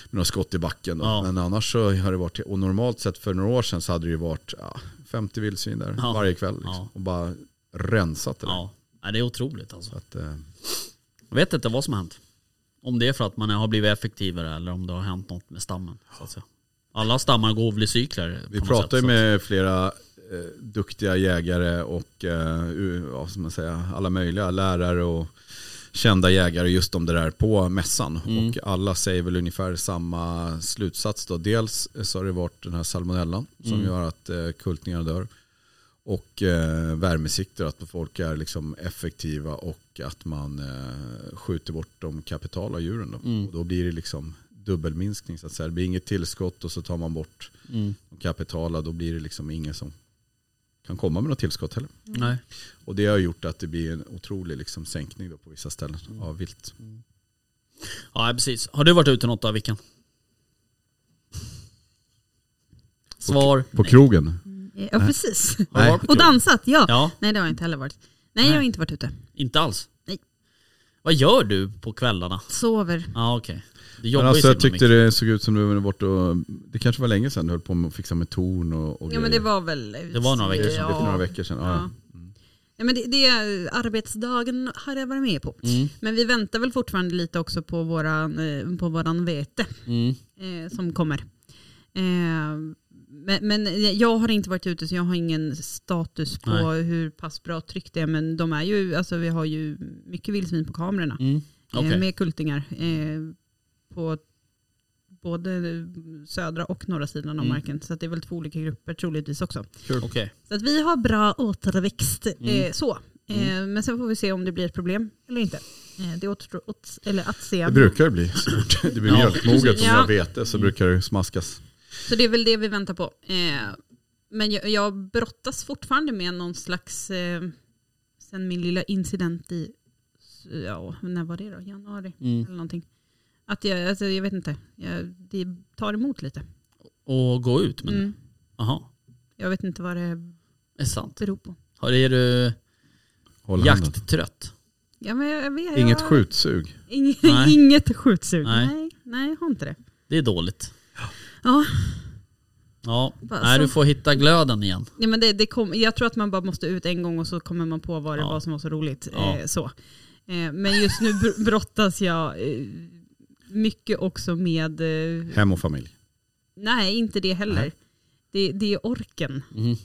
E: några skott i backen då.
C: Ja.
E: Men annars så har det varit, och normalt sett för några år sedan så hade det ju varit ja, 50 vildsvin där
C: Ja.
E: varje kväll. Liksom.
C: Ja.
E: Och bara rensat det där.
C: Ja, Nej, det är otroligt alltså.
E: Så att, eh,
C: Jag vet inte vad som har hänt. Om det är för att man har blivit effektivare eller om det har hänt något med stammen. Så att säga. Alla stammar går väl i cykler. på
E: vi
C: något
E: pratar
C: sätt,
E: ju
C: så att-
E: med flera eh, duktiga jägare och eh, u- ja, som man säger, alla möjliga lärare och kända jägare just om det där på mässan.
C: Mm.
E: Och alla säger väl ungefär samma slutsats. Då. Dels så har det varit den här salmonellan som
C: Mm.
E: gör att eh, kultingar dör. Och eh, värmesikter, att folk är liksom effektiva och att man eh, skjuter bort de kapitala djuren. Då. Och
C: Mm.
E: då blir det liksom dubbelminskning. Så att säga. Det blir inget tillskott och så tar man bort
C: Mm.
E: de kapitala. Då blir det liksom ingen som kan komma med något tillskott heller.
C: Nej.
E: Och det har gjort att det blir en otrolig liksom, sänkning då på vissa ställen av vilt.
C: Ja, precis. Har du varit ute något av veckan? Svar.
E: På krogen?
F: Ja, precis.
C: Har du
E: Nej. alltså,
C: varit på
F: Och
C: krogen?
F: dansat, ja.
C: Ja,
F: Nej, det har jag inte heller varit. Nej, jag har inte varit ute.
C: inte alls.
F: Nej.
C: Vad gör du på kvällarna?
F: Sover.
C: Ja, okej. Du
E: Men
C: jobbar ju
E: alltså,
C: så
E: jag
C: himla
E: tyckte
C: mycket.
E: det såg ut som du var borta och, det kanske var länge sedan du höll på med att fixa med torn och, och
F: Ja, men det
E: grejer.
F: var väl...
C: Det var några veckor sedan.
E: Det är för några veckor sedan. Ja.
F: Ja. Ja, men det, det eh, arbetsdagen har jag varit med på.
C: Mm.
F: Men vi väntar väl fortfarande lite också på våran, eh, på våran vete
C: Mm.
F: eh, som kommer. Eh, men, men jag har inte varit ute så jag har ingen status på
C: Nej.
F: hur pass bra tryck det är. Men de är ju, alltså, vi har ju mycket vildsvin på kamerorna
C: Mm.
F: eh,
C: Okej.
F: med kultingar. Eh, på både södra och norra sidan av
C: Mm.
F: marken. Så att det är väl två olika grupper troligtvis också.
C: Okej.
F: Så att vi har bra återväxt. Eh,
C: Mm.
F: så. Eh, men sen får vi se om det blir ett problem eller inte. Eh, det återstår åt, eller att se.
E: Det brukar det bli. så fort Det blir
C: Ja,
E: mjölkmoget
F: precis.
E: som jag
F: Ja.
E: vete så brukar det smaskas.
F: Så det är väl det vi väntar på. Eh, men jag, jag brottas fortfarande med någon slags, eh, sen min lilla incident i, ja, när var det då? Januari
C: Mm.
F: eller någonting. Att jag, alltså, jag vet inte, jag, det tar emot lite.
C: Och gå ut men...
F: Mm.
C: Aha.
F: Jag vet inte vad det
C: Är sant.
F: beror på.
C: Har- Är du
E: Håll handen.
C: jakttrött?
F: Ja, men jag, jag vet,
E: Inget
F: jag,
E: skjutsug.
F: Inget,
C: Nej.
F: inget skjutsug.
C: Nej.
F: Nej. Nej, jag har inte det.
C: Det är dåligt.
F: Ja,
C: Ja.
F: Bara
C: Nej,
F: så.
C: du får hitta glöden igen.
F: Nej, men det, det kom, jag tror att man bara måste ut en gång och så kommer man på vad det
C: Ja.
F: var som var så roligt.
C: Ja.
F: Eh, så. Eh, men just nu br- brottas jag eh, mycket också med, eh,
E: Hem och familj.
F: nej inte det heller. Det, det är orken
C: Mm.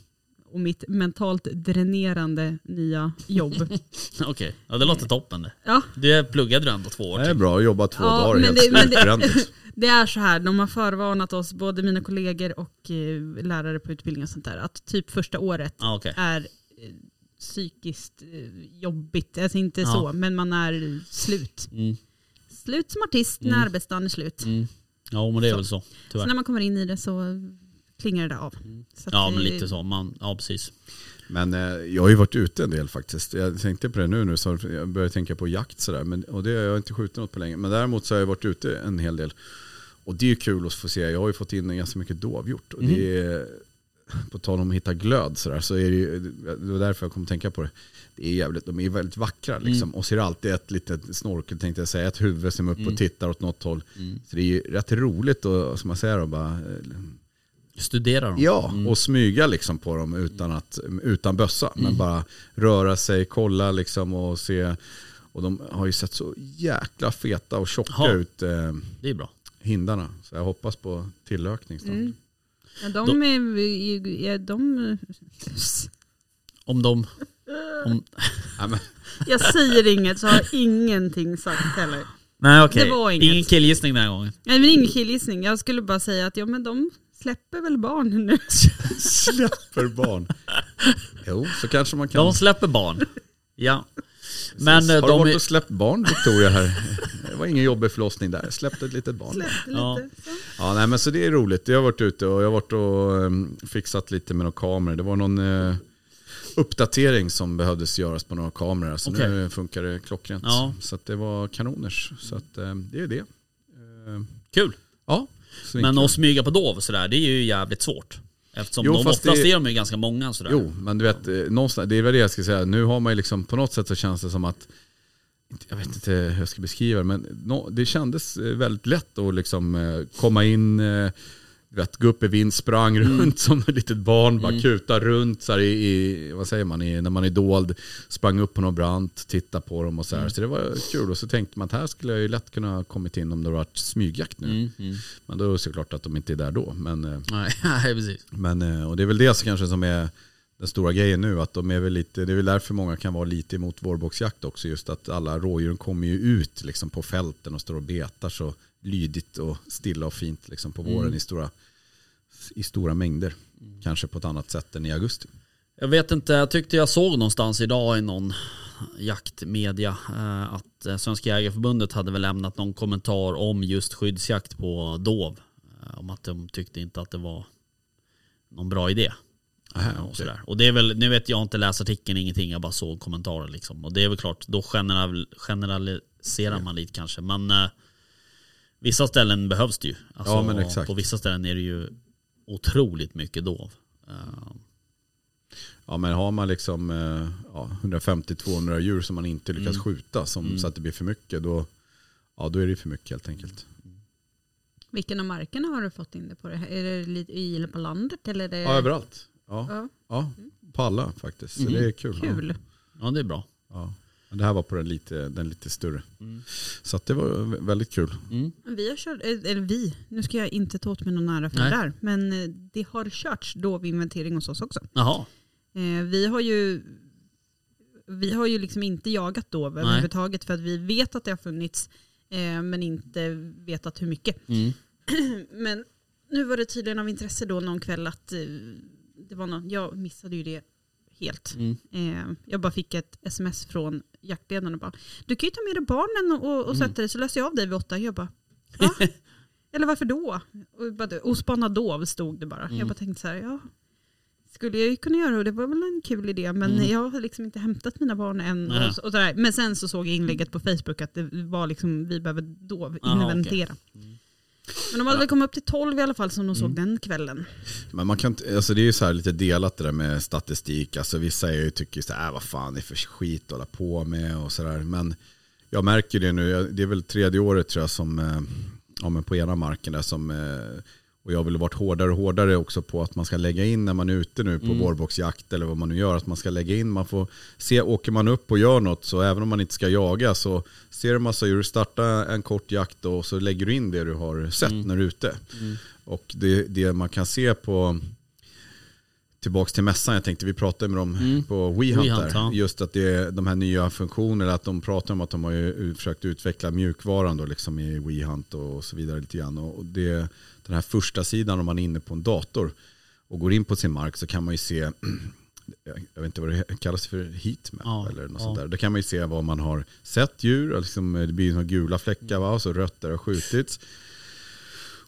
F: och mitt mentalt dränerande nya jobb.
C: Okej, ja, det låter toppen det.
F: ja,
C: Du pluggade du ändå två år
E: Det är
C: till.
E: bra att jobba två
F: Ja,
E: dagar
F: men
E: helt
F: det- men det-
E: slutbrändigt.
F: det är så här, de har förvarnat oss, både mina kollegor och eh, lärare på utbildning och sånt där, att typ första året
C: Ja, okej.
F: är eh, psykiskt eh, jobbigt. Alltså inte
C: Ja.
F: så, men man är slut.
C: Mm.
F: Slut som artist när arbetsdagen är slut.
C: Mm. Ja, men det är
F: Så.
C: väl så.
F: Så
C: Tyvärr. Mm.
F: när man kommer in i det så klingar det av. Så att
C: Ja,
F: det-
C: men lite så. Man, ja, precis.
E: Men eh, jag har ju varit ute en del faktiskt. Jag tänkte på det nu, nu så jag började tänka på jakt sådär. Men, och det, jag har inte skjutit något på länge. Men däremot så har jag varit ute en hel del. Och det är ju kul att få se. Jag har ju fått in ganska mycket dovhjort. Och det
F: Mm.
E: är, på tal om att hitta glöd sådär, så är det ju, det var därför jag kom att tänka på det. Det är jävligt, de är väldigt vackra
F: Mm.
E: liksom. Och så är det alltid ett litet snorkel tänkte jag säga, ett huvud
F: Mm.
E: som är uppe och tittar åt något håll. Så det är ju rätt roligt och som man säger då bara, eh,
C: Studera dem.
E: Ja, och smyga liksom på dem utan, att, utan bössa.
C: Mm.
E: Men bara röra sig, kolla liksom och se. Och de har ju sett så jäkla feta och tjocka
C: Ja.
E: ut, eh,
C: Det är bra.
E: hindarna. Så jag hoppas på tillökning snart.
C: Mm.
F: Ja, de, är, är, är de...
C: Om de... Om,
E: Ja, men,
F: Jag säger inget så har ingenting sagt heller.
C: nej okej,
F: Det var inget.
C: ingen killgissning den här gången.
F: Nej men ingen killgissning. Jag skulle bara säga att ja men de släpper väl barn nu.
E: släpper barn. Jo, så kanske man kan.
C: De släpper barn. Ja. Men eh,
E: har du
C: de
E: varit
C: är,
E: och släppt barn Victoria här? Det var ingen jobbig förlossning där. Släppte ett litet barn.
F: Släpper
C: Ja.
F: lite. Så.
E: Ja, nej, men så det är roligt. Jag har varit ute och jag har varit och ehm, fixat lite med några kameror. Det var någon eh, uppdatering som behövdes göras på några kameror. Så
C: Okej.
E: nu funkar det klockrent.
C: Ja.
E: Så att det var kanoners. Så att, ehm, det är det. Ehm,
C: kul.
E: ja, svinkul.
C: Men att smyga på dov och sådär, det är ju jävligt svårt. Eftersom
E: Jo,
C: de
E: fast
C: oftast
E: det-
C: är de ju ganska många sådär.
E: Jo, men du vet, eh, någonstans, det är väl det jag ska säga. Nu har man ju liksom, på något sätt så känns det som att, inte- jag vet inte hur jag ska beskriva det, men nå- det kändes eh, väldigt lätt att liksom eh, komma in, eh, du vet, gå upp i vind, sprang runt som ett litet barn, bara kuta runt så här, i, i, vad säger man, i, när man är dold, sprang upp på någon brant, titta på dem och så här. Så det var kul och så tänkte man att här skulle jag ju lätt kunna ha kommit in om det hade varit smygjakt nu. Men då är det såklart att de inte är där då. Men, eh,
C: Nej, nej, precis.
E: men, eh, och det är väl det som kanske som är den stora grejen nu. Att de är väl lite, det är väl därför många kan vara lite emot vårboxjakt också. Just att alla rådjuren kommer ju ut liksom på fälten och står och betar så lydigt och stilla och fint liksom på
C: Mm.
E: våren i, stora, i stora mängder. Kanske på ett annat sätt än i augusti.
C: Jag vet inte, jag tyckte jag såg någonstans idag i någon jaktmedia eh, att eh, Svenska Jägareförbundet hade väl lämnat någon kommentar om just skyddsjakt på dov. Eh, Om att de tyckte inte att det var någon bra idé. och, sådär. och det är väl, nu vet jag inte läst artikeln, ingenting, jag bara såg kommentarer liksom. Och det är väl klart, då general, generaliserar man lite kanske. Men eh, vissa ställen behövs det ju. Alltså,
E: Ja, men exakt.
C: På vissa ställen är det ju otroligt mycket dov. Eh,
E: Ja men har man liksom eh, ja, 150-200 djur som man inte lyckas
C: Mm.
E: skjuta som, så att det blir för mycket då, ja, då är det för mycket helt enkelt.
F: Vilken av markerna har du fått in det på? Det här? Är det lite i eller på landet? Eller är
C: Eh.
F: det...
E: Ja, överallt. Ja,
F: Ja,
E: ja,
C: Mm.
E: på alla faktiskt. Så det är kul. Ja.
F: kul.
C: Ja det är bra.
E: Ja. Men Det här var på den lite, den lite större. Så att det var vä- väldigt kul.
C: Mm.
F: Men Vi har kört, eh, eller vi, nu ska jag inte ta åt mig någon ära för
C: Nej.
F: det där. Men eh, det har körts dovinventering hos oss också.
C: Jaha.
F: Eh, vi har ju vi har ju liksom inte jagat dov överhuvudtaget för att vi vet att det har funnits eh, men inte vetat hur mycket.
E: Mm.
F: men nu var det tydligen av intresse då någon kväll att eh, det var någon, jag missade ju det helt.
E: Mm.
F: Eh, jag bara fick ett sms från jaktledaren och bara du kan ju ta med dig barnen och, och
C: Mm.
F: sätta dig så löser jag av dig vid åtta. Jag bara va? Eller varför då? Och bara, Ospanna dov stod det bara. Jag
C: Mm.
F: bara tänkte så här, ja skulle jag ju kunna göra och det var väl en kul idé men jag har liksom inte hämtat mina barn än.
C: Mm. Nej.
F: Och, så- och sådär. Men sen så såg jag inlägget på Facebook att det var liksom, vi behöver då
C: Aha, Mm.
F: inventera. Men de hade väl kommit upp till 12 i alla fall som de såg den kvällen.
E: Men man kan, inte- alltså det är ju så här lite delat det där med statistik. Alltså vissa är ju, tycker ju så här, äh, vad fan det är för skit att hålla på med och sådär. Men jag märker det nu, Jag- det är väl tredje året tror jag som, eh, ja men på ena marken där som, eh, och jag har väl varit hårdare och hårdare också på att man ska lägga in när man är ute nu på vårboxjakt eller vad man nu gör, att man ska lägga in, man får se, åker man upp och gör något så även om man inte ska jaga så ser du massa djur, starta en kort jakt och så lägger du in det du har sett när du är ute. Och det, det man kan se på Tillbaks till mässan, jag tänkte vi pratade med dem på WeHunt
C: Mm. WeHunt,
E: där.
C: ja.
E: Just att det är de här nya funktionerna, att de pratar om att de har ju u- försökt utveckla mjukvaran då liksom i WeHunt och så vidare lite grann. Och och det, den här första sidan om man är inne på en dator och går in på sin mark så kan man ju se, jag vet inte vad det kallas för, heatmap
C: Ja,
E: eller något
C: ja.
E: sånt där. Där kan man ju se vad man har sett djur, och liksom, det blir ju några gula fläckar va? och så rött där det har skjutits.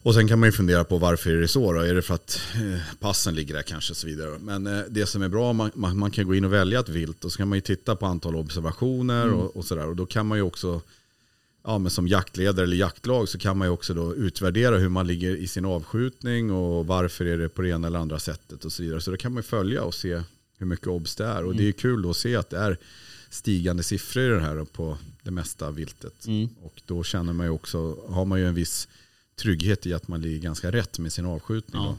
E: Och sen kan man ju fundera på varför är det så då? Är det för att eh, passen ligger där kanske och så vidare. Men eh, det som är bra, man, man, man kan gå in och välja ett vilt och så kan man ju titta på antal observationer
C: Mm.
E: och, och sådär. Och då kan man ju också, ja, men som jaktledare eller jaktlag så kan man ju också då utvärdera hur man ligger i sin avskjutning och varför är det på det ena eller andra sättet och så vidare. Så då kan man ju följa och se hur mycket obs det är. Och det är ju kul då att se att det är stigande siffror i det här på det mesta viltet. Och då känner man ju också, har man ju en viss trygghet i att man ligger ganska rätt med sin avskjutning.
C: Ja.
E: Då.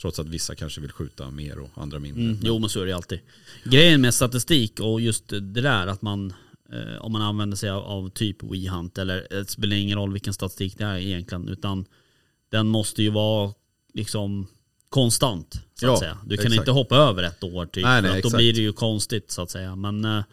E: Trots att vissa kanske vill skjuta mer och andra mindre.
C: Mm, jo men så är det ju alltid. Grejen med statistik och just det där att man eh, om man använder sig av, av typ WeHunt eller det spelar ingen roll vilken statistik det är egentligen utan den måste ju vara liksom konstant så att
E: Ja,
C: säga. Du kan
E: exakt.
C: inte hoppa över ett år typ
E: Nej,
C: för
E: nej,
C: att då
E: exakt.
C: blir det ju konstigt så att säga. Men, eh,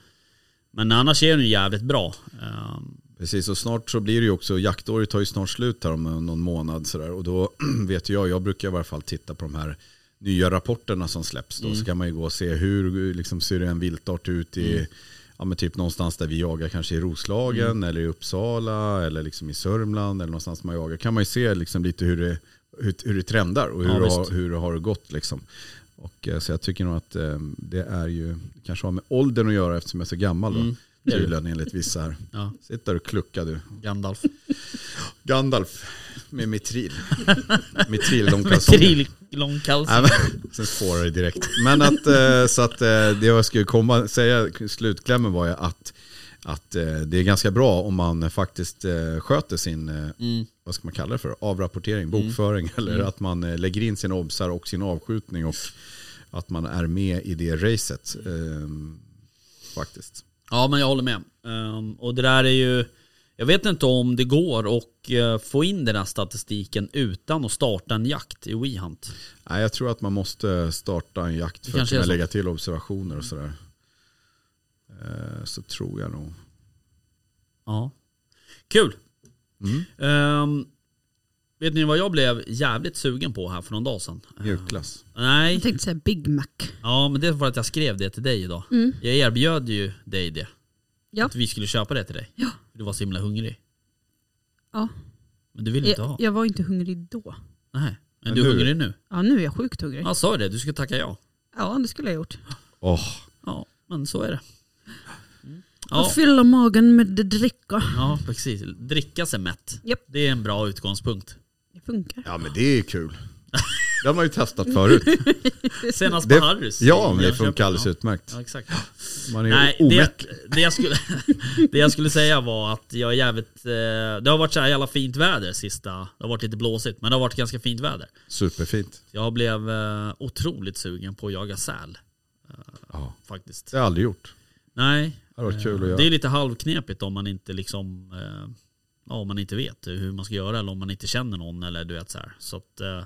C: men annars är den ju jävligt bra. Ehm,
E: Precis, och snart så blir det ju också, jaktåret tar ju snart slut här om någon månad sådär. Och då vet ju jag, jag brukar i varje fall titta på de här nya rapporterna som släpps
C: Mm.
E: då. Så kan man ju gå och se hur liksom, ser en viltart ut i,
C: Mm.
E: ja men typ någonstans där vi jagar, kanske i Roslagen eller i Uppsala eller liksom i Sörmland eller någonstans man jagar. Kan man ju se liksom lite hur det, hur, hur det trendar och hur,
C: Ja,
E: det har,
C: visst.
E: hur det har gått liksom. Och, eh, så jag tycker nog att eh, det är ju, kanske har med åldern att göra eftersom jag är så gammal då.
C: Mm, det är det.
E: Tydligen enligt vissa här.
C: Ja,
E: Sitt där och klucka du.
C: Gandalf.
E: Gandalf med mitril. mitril de kalsonger.
C: Trill, långkals.
E: Nej, men- Sen spårar det direkt. Men att, eh, så att eh, det jag skulle komma säga, slutklämmen var ju att, att eh, det är ganska bra om man faktiskt eh, sköter sin, eh, vad ska man kalla det för, avrapportering, bokföring eller att man eh, lägger in sina obsar och sin avskjutning och att man är med i det racet. eh, Faktiskt.
C: Ja, men jag håller med. Ehm, och det där är ju... Jag vet inte om det går att eh, få in den här statistiken utan att starta en jakt i WeHunt.
E: Nej, jag tror att man måste starta en jakt för att
C: kanske är
E: kunna
C: så.
E: lägga till observationer och sådär. Eh, Så tror jag nog.
C: Ja. Kul! Ehm, vet ni vad jag blev jävligt sugen på här för någon dag sedan?
E: Mjukglass.
C: Nej,
F: Jag tänkte säga Big Mac.
C: ja men det var att jag skrev det till dig idag. Jag erbjöd ju dig det.
F: Mm. Ja.
C: Att vi skulle köpa det till dig.
F: Ja.
C: Du var så himla hungrig.
F: Ja.
C: Men du ville inte ha.
F: Jag, jag var inte hungrig då.
C: Nej. Men,
E: Men
C: du är
E: nu-
C: hungrig nu?
F: Ja, nu är jag sjukt hungrig.
C: Jag sa ju det, du skulle tacka ja.
F: Ja, det skulle jag gjort.
E: Åh,
C: Ja, men så är det.
F: Och fylla magen med det dricka.
C: Ja, precis. Dricka sig mätt.
F: Japp.
C: Det är en bra utgångspunkt.
F: Det funkar.
E: ja men det är ju kul. Det har man ju testat förut.
C: Senast
E: Det-
C: på Harrys.
E: Ja,
C: i
E: men det
C: Jönköping.
E: funkar alldeles
C: Ja.
E: utmärkt.
C: Ja, exakt.
E: Man är
C: Nej,
E: ju
C: det,
E: omätt.
C: det, jag skulle, det jag skulle säga var att jag är jävligt... eh, Det har varit så här jävla fint väder sista... Det har varit lite blåsigt, men det har varit ganska fint väder.
E: Superfint.
C: Jag blev eh, otroligt sugen på att jaga säl,
E: Ja.
C: faktiskt.
E: Det har jag aldrig gjort.
C: Nej, Eh,
E: Det har varit kul att
C: det är
E: göra.
C: lite halvknepigt om man inte liksom... eh, Ja, om man inte vet hur man ska göra eller om man inte känner någon eller du vet så här. Så att... eh,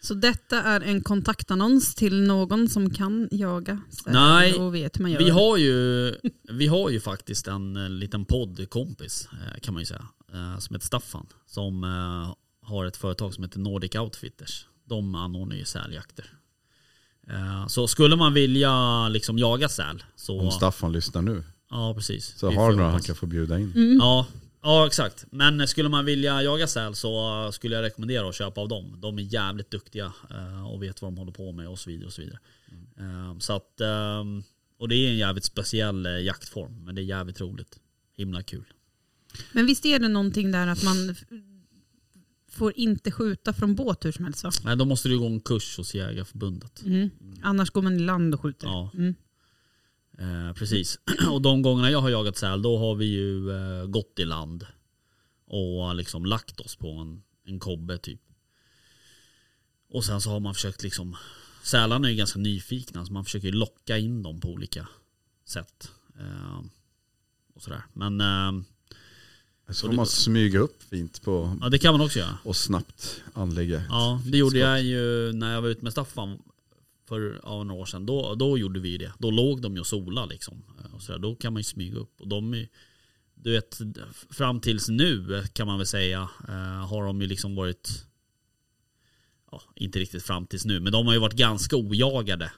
F: Så detta är en kontaktannons till någon som kan jaga säl
C: Nej,
F: och vet hur man gör.
C: Vi har, ju, vi har ju faktiskt en eh, liten poddkompis eh, kan man ju säga. eh, Som heter Staffan. Som eh, har ett företag som heter Nordic Outfitters. De anordnar ju säljakter. Eh, Så skulle man vilja liksom jaga säl så...
E: Om Staffan lyssnar nu
C: ja, precis.
E: så
C: Vi
E: har
C: får
E: han några han
C: hoppas.
E: kan få bjuda in.
C: Ja, ja, exakt. Men skulle man vilja jaga säl så eh, skulle jag rekommendera att köpa av dem. De är jävligt duktiga eh, och vet vad de håller på med och så vidare. Och så vidare. Eh, Så att, eh, och det är en jävligt speciell eh, jaktform, men det är jävligt roligt. Himla kul.
F: Men visst är det någonting där att man f- får inte skjuta från båt hur som helst va?
C: Nej, då måste du gå en kurs hos Jägarförbundet.
F: Mm. Annars går man i land och skjuter.
C: Ja.
F: Mm.
C: Eh, precis. Och de gångerna jag har jagat säl, då har vi ju eh, gått i land och liksom lagt oss på en, en kobbe typ. Och sen så har man försökt liksom, sälarna är ju ganska nyfikna så man försöker ju locka in dem på olika sätt. Eh, och sådär. Men eh,
E: Så får man smyga upp fint på
C: ja, det kan man också göra.
E: och snabbt anlägga.
C: Ja, det gjorde jag ju när jag var ute med Staffan för ja, några år sedan. Då, då gjorde vi ju det. Då låg de ju och sola liksom. Och så där. Då kan man ju smyga upp. Och de är, ju- du vet, fram tills nu kan man väl säga eh, har de ju liksom varit, ja, inte riktigt fram tills nu, men de har ju varit ganska ojagade.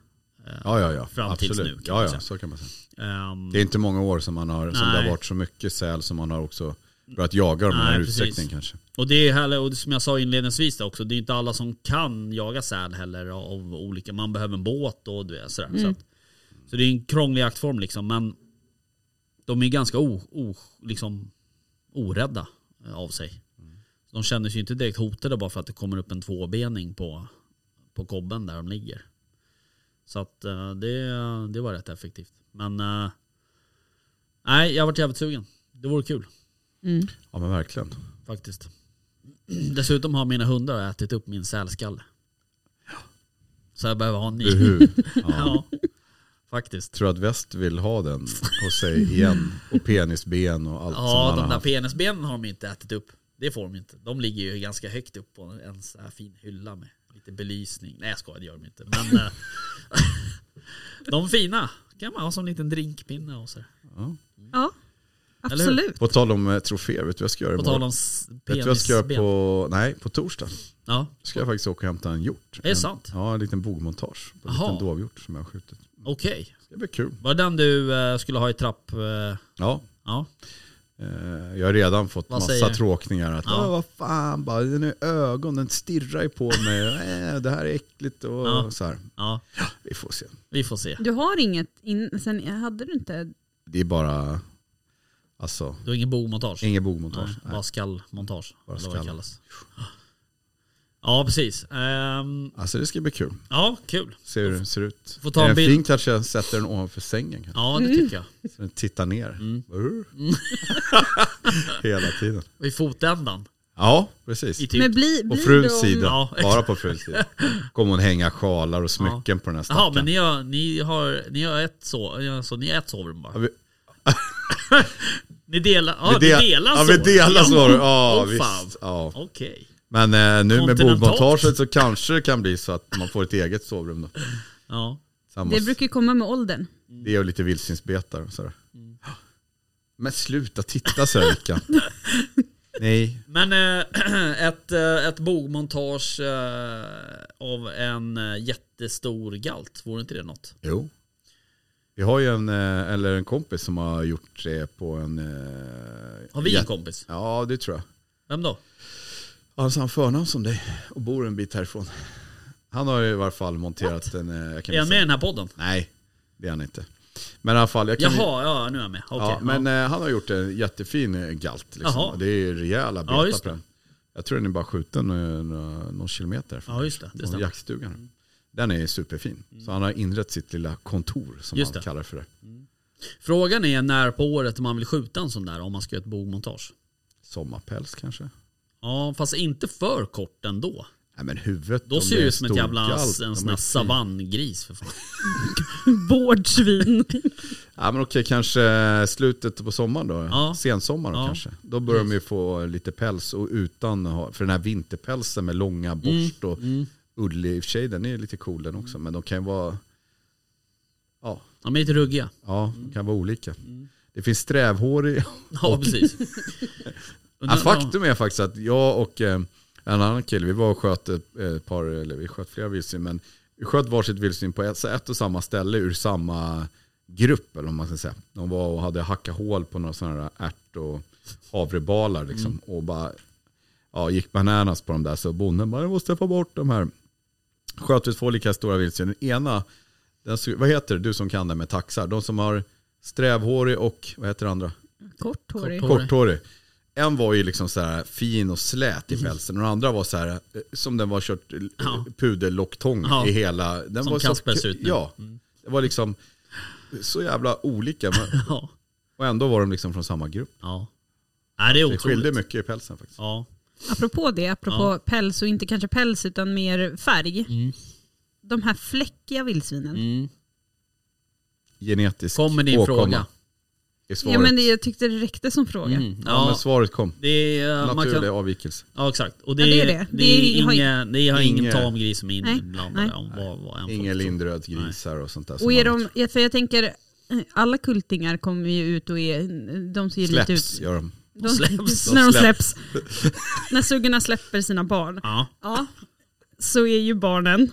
E: Ja, ja, ja.
C: Fram tills
E: Absolut.
C: nu, kan man
E: Ja,
C: säga.
E: ja, så kan man säga.
C: Ehm,
E: Det är inte många år som, man har, som det
C: Nej.
E: har varit så mycket säl som man har också börjat jaga dem i den här
C: Nej, precis.
E: utsträckningen kanske.
C: Och det är heller, och som jag sa inledningsvis där också, det är inte alla som kan jaga säl heller av olika, man behöver en båt och du vet, sådär. Så, att, så det är en krånglig jaktform liksom, men de är ganska o, o, liksom, orädda eh, av sig. De känner sig ju inte direkt hotade bara för att det kommer upp en tvåbening på, på kobben där de ligger. Så att eh, det, det var rätt effektivt. Men eh, nej, jag har varit jävligt sugen. Det vore kul
E: Ja men verkligen.
C: faktiskt. Dessutom har mina hundar ätit upp min sälskalle. Så jag behöver ha en ny.
E: Uhu. Ja.
C: Ja, faktiskt.
E: Tror att väst vill ha den hos sig igen. Och penisben och allt som
C: Ja,
E: han har
C: de där
E: haft.
C: penisbenen har de ju inte ätit upp. Det får de inte. De ligger ju ganska högt upp på en så här fin hylla med lite belysning. Nej jag skojar, det gör de inte. Men eh, de fina kan man ha som en liten drinkpinne och så. där.
F: Ja,
C: hur?
F: absolut.
E: På tal om eh, troféer, vet du vad jag ska göra
C: På tal om
E: imorgon?
C: s-
E: Vet du vad jag ska göra
C: penisben.
E: på, nej, på torsdag?
C: Ja,
E: ska jag faktiskt åka och hämta en hjort.
C: Är det
E: en,
C: sant?
E: Ja, en liten bogmontage. På en
C: Jaha.
E: liten dovhjort som jag har skjutit.
C: okej.
E: Det ska bli kul.
C: Var det den du eh, skulle ha i trapp... eh,
E: Ja,
C: Ja,
E: Eh, Jag har redan fått
C: Vad
E: massa
C: säger-
E: tråkningar. Att,
C: Ja.
E: "Åh, Vad fan, bara, den är ögon, den stirrar ju på mig. Eh, det här är äckligt och
C: Ja.
E: så här.
C: ja,
E: Vi får se.
C: vi får se.
F: Du har inget, in, sen hade du inte,
E: Det är bara, alltså,
C: Du har ingen bomontage?
E: inget bogmontage.
C: Nej, Bara
E: Nej.
C: skallmontage.
E: Bara
C: eller vad det
E: skall.
C: kallas. Ja, precis. Ehm,
E: Alltså det ska bli kul.
C: ja, kul.
E: Se hur den ser ut.
C: Får ta
E: är
C: en
E: den
C: bild.
E: fin kanske jag sätter den ovanför sängen. Kanske.
C: Ja, Mm. det tycker jag.
E: Så den tittar ner. Uh. Hela tiden.
C: I fotändan.
E: Ja, precis.
C: I typ...
F: men bli,
E: På
F: blir
E: fruns
F: de,
E: sida.
C: Ja.
E: Bara på fruns sida. Kommer hon hänga sjalar och smycken på den här stackaren.
C: Jaha, men ni har, ni har, ni har ett, so alltså, ni har ett sovrum
E: Ja,
C: bara?
E: vi-
C: Ni delar, ja,
E: del-
C: ni delar
E: ja, vi delar så. Ja,
C: Åh, fan.
E: visst. Ja.
C: Okej.
E: Men eh, nu med
C: Continental.
E: bogmontaget så kanske det kan bli så att man får ett eget sovrum då.
C: Ja.
E: Sambos.
F: det brukar ju komma med åldern.
E: det är lite vildsvinsbetar och sådär. Men sluta titta så här Vickan. Nej.
C: Men eh, ett, eh, ett bogmontage eh, av en eh, jättestor galt, vore inte det något?
E: Jo. Vi har ju en, eh, eller en kompis som har gjort det på en... eh,
C: Har vi
E: jä-
C: en kompis?
E: Ja, det tror jag.
C: Vem då?
E: Han har samma förnamn som dig och bor en bit härifrån. Han har ju i varje fall monterat en... eh, Jag kan
C: Är
E: inte
C: han med i
E: säga-
C: den här podden?
E: Nej, det är han inte. Men i alla fall, jag kan ju-
C: Jaha, ja nu är jag med. Okej.
E: ja, men eh, han har gjort en jättefin eh, galt.
C: Jaha.
E: Liksom. Det är ju rejäla
C: Ja,
E: betar
C: just
E: på den. Jag tror den är bara skjuten eh, några- någon kilometer från
C: Ja, just det. Det
E: från
C: stämmer.
E: jaktstugan. Den är superfin. Så han har inrett sitt lilla kontor som
C: Just
E: han
C: det.
E: kallar för det.
C: Frågan är när på året man vill skjuta en sån där om man ska göra ett bogmontage.
E: Sommarpäls kanske?
C: Ja, fast inte för kort ändå.
E: Nej men huvudet.
C: Då
E: om
C: ser
E: det
C: det
E: är
C: ut som ett
E: stor
C: jävla
E: galt,
C: en
E: de
C: sån
E: är
C: här
E: fin.
C: savanngris för fan.
F: Vårdsvin.
E: Ja men okej, kanske slutet på sommaren då.
C: Ja.
E: Sensommaren
C: Ja.
E: kanske. Då börjar de ju få lite päls och utan, att ha- för den här vinterpälsen med
C: Mm,
E: långa borst och ullig i och för sig, den är ju lite cool den
C: Mm.
E: också. Men de kan ju vara, ja,
C: De är lite ruggiga.
E: ja
C: Mm.
E: de kan vara olika. Det finns strävhårig.
C: Ja, precis.
E: Ja, faktum är faktiskt att jag och eh, en annan kille, vi var och sköt ett eh, ett par, eller vi sköt flera vildsvin, men vi sköt varsitt vildsvin på ett, så ett och samma ställe ur samma grupp, eller om man ska säga. De var och hade hackat hål på några sådana här ärt och havrebalar liksom, och bara ja, gick bananas på dem där. Så bonden bara, jag måste få bort de här. Sköt vi två lika stora vildsvin. Den ena, den, såg- vad heter det, du som kan det med taxar, de som har strävhårig och, vad heter det andra?
F: Korthårig.
C: Korthårig.
E: Korthårig. En var ju liksom så här fin och slät i pälsen och den andra var så här eh, som den var kört eh,
C: Mm. Ja.
E: puderlocktång
C: Ja.
E: i hela. Den
C: Som
E: var så-
C: Kasper ser ut nu. Mm.
E: Ja, det var liksom så jävla olika men,
C: Ja.
E: och ändå var de liksom från samma grupp.
C: ja. Nej, det är
E: Det skilde
C: otroligt.
E: mycket i pälsen faktiskt.
C: Ja.
F: Apropå det, apropå päls och inte kanske päls utan mer färg. De här fläckiga vildsvinen.
C: Mm.
E: Genetisk
C: Kommer din
E: åkomma
C: fråga.
E: är svaret.
F: Ja, men det, jag tyckte det räckte som fråga.
E: ja.
C: Mm.
E: men
C: Ja,
E: svaret kom.
C: det är, eh, man
E: Naturlig
C: kan,
E: avvikelse.
C: Ja exakt. Och det,
F: Ja, det
C: är
F: är
C: det.
F: det.
C: Det är
F: Det har-
C: inga, det har ingen
E: Inge-
C: tamgris som är
F: Nej,
C: inblandad.
F: nej.
C: om vad- vad en
E: Inga
C: får-
E: lindrödgrisar och sånt där. som
F: Och är
E: man-
F: de, ja, för jag tänker, eh, alla kultingar kommer ju ut och är, de ser ju lite
E: släpps
F: ut...
E: gör de.
F: De
C: släpps.
F: När
E: De
F: de släpps. när suggorna släpper sina barn.
C: Ja,
F: Ja. Så är ju barnen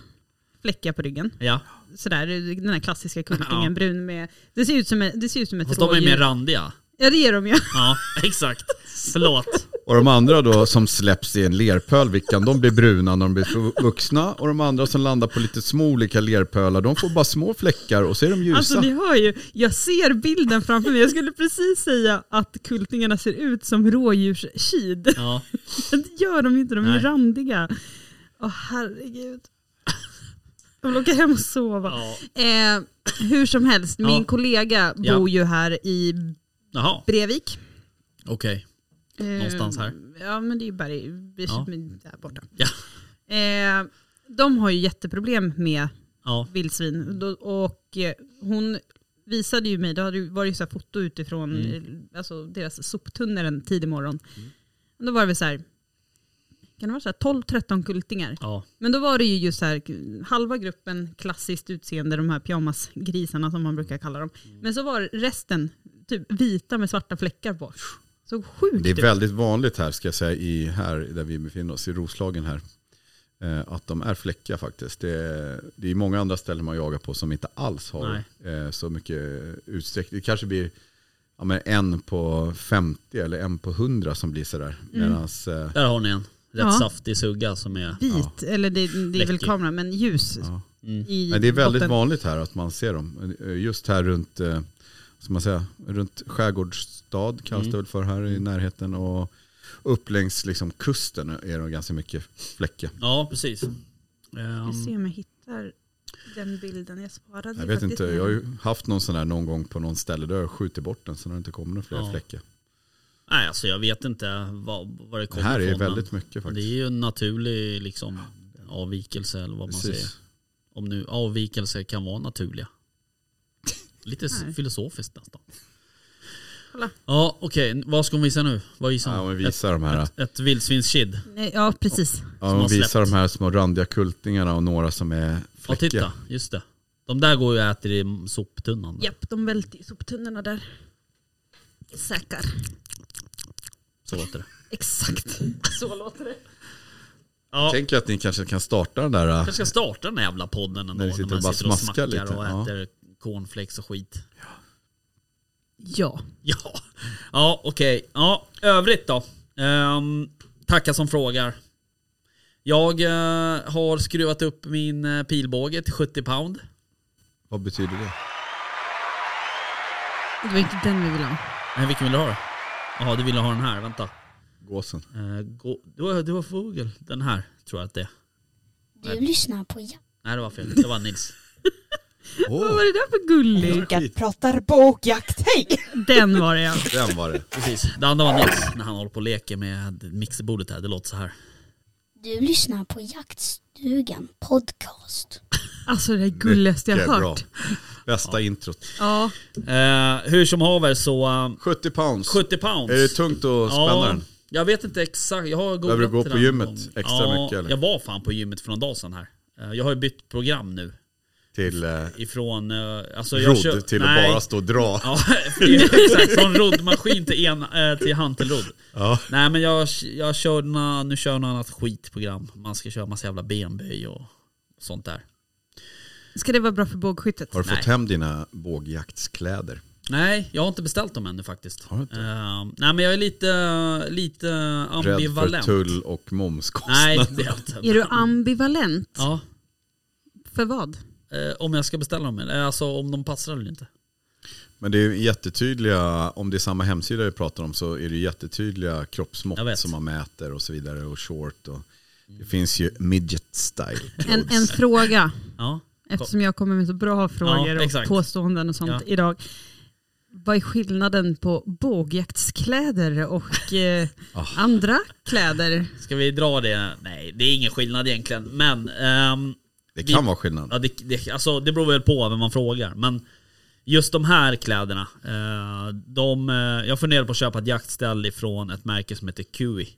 F: fläckiga på ryggen.
C: ja.
F: Sådär, den här klassiska kultingen,
C: Ja.
F: brun med... Det ser ut som, en, det ser ut som ett
C: Fast de
F: rådjur.
C: är mer randiga.
F: Ja det är de ju.
C: Ja, exakt. Förlåt.
E: Och de andra då som släpps i en lerpöl, Vickan, de blir bruna när de blir vuxna. Och de andra som landar på lite små olika lerpölar, de får bara små fläckar och så är de ljusa.
F: Alltså ni hör ju, jag ser bilden framför mig. Jag skulle precis säga att kultingarna ser ut som rådjurskid.
C: Ja.
F: Det gör de ju inte, de är
C: Nej.
F: ju randiga. Åh herregud. Jag vill åka hem och sova.
C: ja.
F: Eh, hur som helst, min
C: Ja.
F: kollega
C: Ja.
F: bor ju här i
C: Jaha,
F: Brevik.
C: okej.
F: Eh,
C: Någonstans här.
F: Ja men det är ju berg,
C: Ja.
F: där borta.
C: Ja.
F: Eh, de har ju jätteproblem med
C: Ja,
F: vildsvin. Då- Och eh, hon visade ju mig, då hade det varit så här foto utifrån
E: Mm.
F: eh, alltså deras soptunnor en tidig morgon. Och Då var det väl så här, kan det vara så här 12-13 kultingar?
C: ja.
F: Men då var det ju just så här, halva gruppen klassiskt utseende, de här pyjamasgrisarna som man brukar kalla dem.
E: Mm.
F: Men så var resten typ vita med svarta fläckar på. Så sjukt
E: Det är
F: ut.
E: väldigt vanligt här, ska jag säga, i, här där vi befinner oss, i Roslagen här. eh, Att de är fläckiga faktiskt. Det är, det är många andra ställen man jagar på som inte alls har eh, så mycket utsträckning. Det kanske blir ja, men en på 50 eller en på 100 som blir sådär. Medans, eh,
C: Där har ni en. Rätt
F: Ja.
C: saftig sugga som är...
F: Vit, eller det, det är väl
C: Läckig.
F: kameran, men ljus.
E: Ja.
F: I
E: Men det är väldigt
F: botten.
E: vanligt här att man ser dem. Eh, Just här runt, eh, ska man säga, runt skärgårdsstad kallas
C: Mm.
E: det väl för här i närheten. Och upp längs liksom, kusten är de ganska mycket fläckiga.
C: Ja, precis.
F: Vi
C: Ehm,
F: ser om jag hittar den bilden. Jag sparade
E: Mm. Jag
F: ju
E: vet
F: faktiskt
E: inte,
F: den.
E: jag har ju haft någon sån här någon gång på någon ställe där jag skjutit bort den så har det inte kommit några fler
C: Ja.
E: fläckar.
C: nej, alltså jag vet inte vad, vad det
E: Det
C: kommer
E: här är
C: ifrån, men
E: väldigt mycket
C: Det är
E: faktiskt.
C: ju en naturlig liksom, avvikelse eller vad man säger.
E: Precis.
C: Om nu avvikelser kan vara naturliga. Lite s-
F: Nej.
C: filosofiskt nästan.
F: Kolla.
C: Ja, okej. Vad ska hon visa nu? Vad visar
E: Ja,
C: hon?
E: om vi visar de här,
C: Ett, ett vildsvinskid.
F: Nej, ja, precis.
E: ja, om
C: har
E: vi visar
C: släppt.
E: de här små randiga kultingarna och några som är
C: Ja, titta.
E: fläckiga.
C: Just det. De där går ju och äter i soptunnan. där.
F: Japp, de välte i soptunnorna där. Säkar.
C: Så låter det.
F: Exakt. Så låter det.
C: Ja,
E: Tänk att ni kanske kan starta den där.
C: kanske ska starta den här jävla podden ändå.
E: När ni sitter
C: man
E: och bara smaskar
C: smackar
E: lite,
C: och
E: ja.
C: äter cornflakes och skit.
F: Ja.
C: Ja, ja okej. Ja, övrigt då. Um, tacka som frågar. Jag eh, har skruvat upp min eh, pilbåge till 70 pound.
E: Vad betyder det?
F: Det var inte den vi ville ha.
C: Nej, vilken vill du ha då? Jaha, du ville ha den här. Vänta.
E: Gåsen.
C: Eh, gå, du, har, du har fågel. Den här tror jag att det är.
G: Du lyssnar på Jack.
C: Nej, det var fel. Det var Nils.
F: Vad
E: Åh,
F: var det där för gullig?
B: Rickard pratar bokjakt, hej!
F: Den var det ja.
E: den var det.
C: Precis. Det andra var Nils när han håller på och leker med mixerbordet här. Det låter så här.
G: Du lyssnar på Jaktstugan podcast.
F: Alltså det är gulligaste jag
E: Mycket
F: har
E: bra.
F: hört.
E: Bästa introt.
F: Ja.
C: Eh, hur som haver så... eh,
E: 70 pounds.
C: 70 pounds.
E: Är det tungt att spänna den?
C: Jag vet inte exakt. Jag har
E: Behöver du
C: googlat
E: gå
C: det
E: på
C: där
E: gymmet
C: någon gång.
E: extra
C: ja,
E: mycket, eller?
C: Jag var fan på gymmet för någon dag sedan här. Eh, Jag har ju bytt program nu.
E: Till eh,
C: Ifrån... eh, Alltså jag kör-
E: rodd till att
C: nej.
E: bara stå och dra.
C: Ja, exakt. Från roddmaskin till, en, eh, till hantelrodd.
E: Ja.
C: Nej men jag, jag kör, na, nu kör jag något annat skitprogram. Man ska köra massa jävla benböj och sånt där.
F: Ska det vara bra för bågskyttet?
E: Har du
C: Nej.
E: fått hem dina bågjaktskläder?
C: Nej, jag har inte beställt dem ännu faktiskt.
E: Har du inte?
C: Eh, nej men jag är lite, lite
E: Rädd för
C: ambivalent.
E: tull och momskostnader.
C: Nej, det är jag inte.
F: Är du ambivalent?
C: Ja,
F: För vad?
C: Eh, om jag ska beställa dem eller? Alltså om de passar eller inte.
E: Men det är jättetydliga, om det är samma hemsida vi pratar om så är det jättetydliga
C: Jag
E: kroppsmått
C: vet.
E: som man mäter och så vidare och short. Och, det finns ju midget style.
F: En, en fråga.
C: Ja.
F: Eftersom jag kommer med så bra frågor
C: Ja,
F: och
C: exakt.
F: påståenden och sånt
C: Ja.
F: idag. Vad är skillnaden på bågjaktskläder och eh,
C: Ah.
F: andra kläder?
C: Ska vi dra det? Nej, det är ingen skillnad egentligen. Men ehm,
E: Det kan
C: Vi-
E: vara skillnad.
C: ja, det, det, alltså, det beror väl på vem man frågar. Men just de här kläderna. Eh, de, eh, jag funderar på att köpa ett jaktställ ifrån ett märke som heter Cui.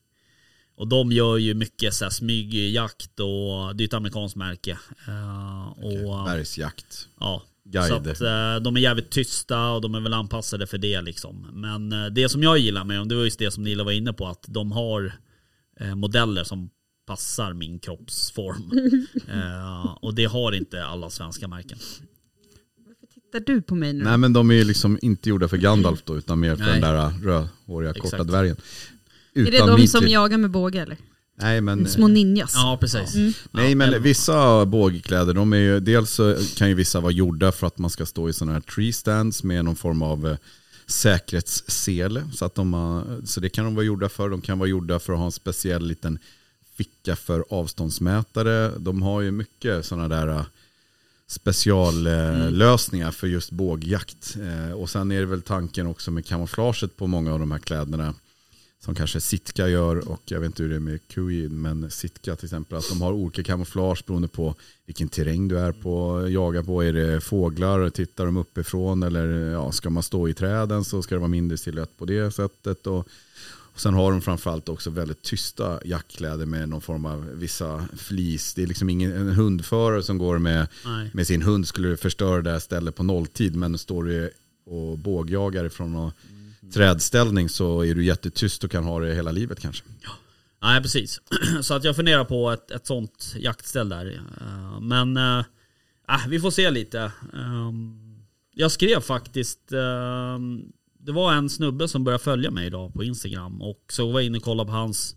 C: Och de gör ju mycket så här, smygjakt och det är ett amerikanskt märke. Eh, och,
E: Bergsjakt.
C: Ja. Så
E: Guider.
C: att, eh, de är jävligt tysta och de är väl anpassade för det liksom. Men eh, det som jag gillar med dem, det var just det som Nilla var inne på, att de har eh, modeller som passar min kroppsform. eh, och det har inte alla svenska märken.
F: Tittar du på mig nu?
E: Nej men de är ju liksom inte gjorda för Gandalf då utan mer för den
C: Nej.
E: där äh, rödhåriga korta
C: Exakt.
E: dvärgen.
F: är det
E: Utan
F: de
E: midget-
F: som jagar med båge eller?
E: Nej men,
F: Små ninjas?
C: Ja, precis.
E: nej,
C: Ja,
E: men vissa bågkläder, de är ju, dels så kan ju vissa vara gjorda för att man ska stå i sådana här tree stands med någon form av eh, säkerhetssele. Så, att de, har- så det kan de vara gjorda för. De kan vara gjorda för att ha en speciell liten ficka för avståndsmätare. De har ju mycket sådana där eh, speciallösningar för just bågjakt. Eh, Och sen är det väl tanken också med kamouflaget på många av de här kläderna. Som kanske Sitka gör och jag vet inte hur det är med QI, men Sitka till exempel. Att de har olika kamouflage beroende på vilken terräng du är på, jagar på. Är det fåglar, tittar de uppifrån eller ja, ska man stå i träden så ska det vara mindre silhuett på det sättet. Och, och sen har de framförallt också väldigt tysta jackkläder med någon form av vissa flis. Det är liksom ingen en hundförare som går med
C: Nej.
E: med sin hund skulle du förstöra det här stället på nolltid men står du och bågjagar från någon trädställning så är du jättetyst och kan ha det hela livet kanske.
C: Nej, precis. Så att jag funderar på ett, ett sånt jaktställ där. Eh, Men eh, ah, vi får se lite. Eh, jag skrev faktiskt, eh, det var en snubbe som började följa mig idag på Instagram och så var jag inne och kollade på hans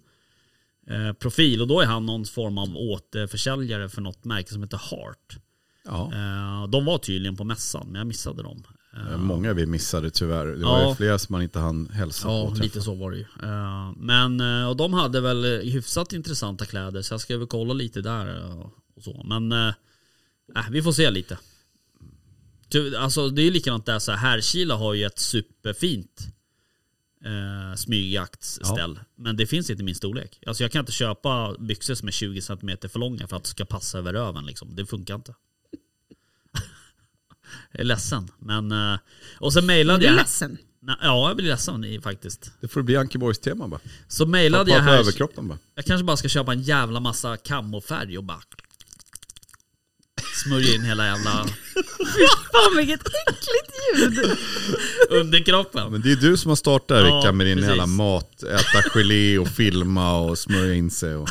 C: eh, profil och då är han någon form av återförsäljare för något märke som heter Heart.
E: Ja.
C: Eh, De var tydligen på mässan men jag missade dem. Eh,
E: Många vi missade tyvärr. Det var
C: Ja.
E: ju flera som man inte hann hälsa på. typ.
C: Ja,
E: och träffa.
C: Alltså, lite så var det ju. Eh, Men, eh, och de hade väl eh, hyfsat intressanta kläder så jag ska väl kolla lite där eh, och så. Men, eh, eh, vi får se lite. Ty- Alltså det är ju likadant där så här, Härkila har ju ett superfint eh, smygjaktsställ. Men det finns inte i min storlek. Alltså jag kan inte köpa byxor som är 20 cm för långa för att det ska passa över röven liksom. Det funkar inte. jag är ledsen. Men, eh, och sen
F: Är
C: mejlade
F: du
C: jag...
F: ledsen?
C: Nej, ja, jag blir ledsen i- faktiskt.
E: Det får bli Ankeborgs-tema bara.
C: Så mejlade
E: Pappa
C: jag
E: på
C: här.
E: överkroppen bara.
C: Jag kanske bara ska köpa en jävla massa kamofärg och bara smörja in hela jävla
F: Fan vilket äckligt ljud!
C: underkroppen.
E: Men det är du som har startat det här
C: Ja,
E: Rickard med din
C: precis.
E: hela mat, äta gelé och filma och smörja in sig och,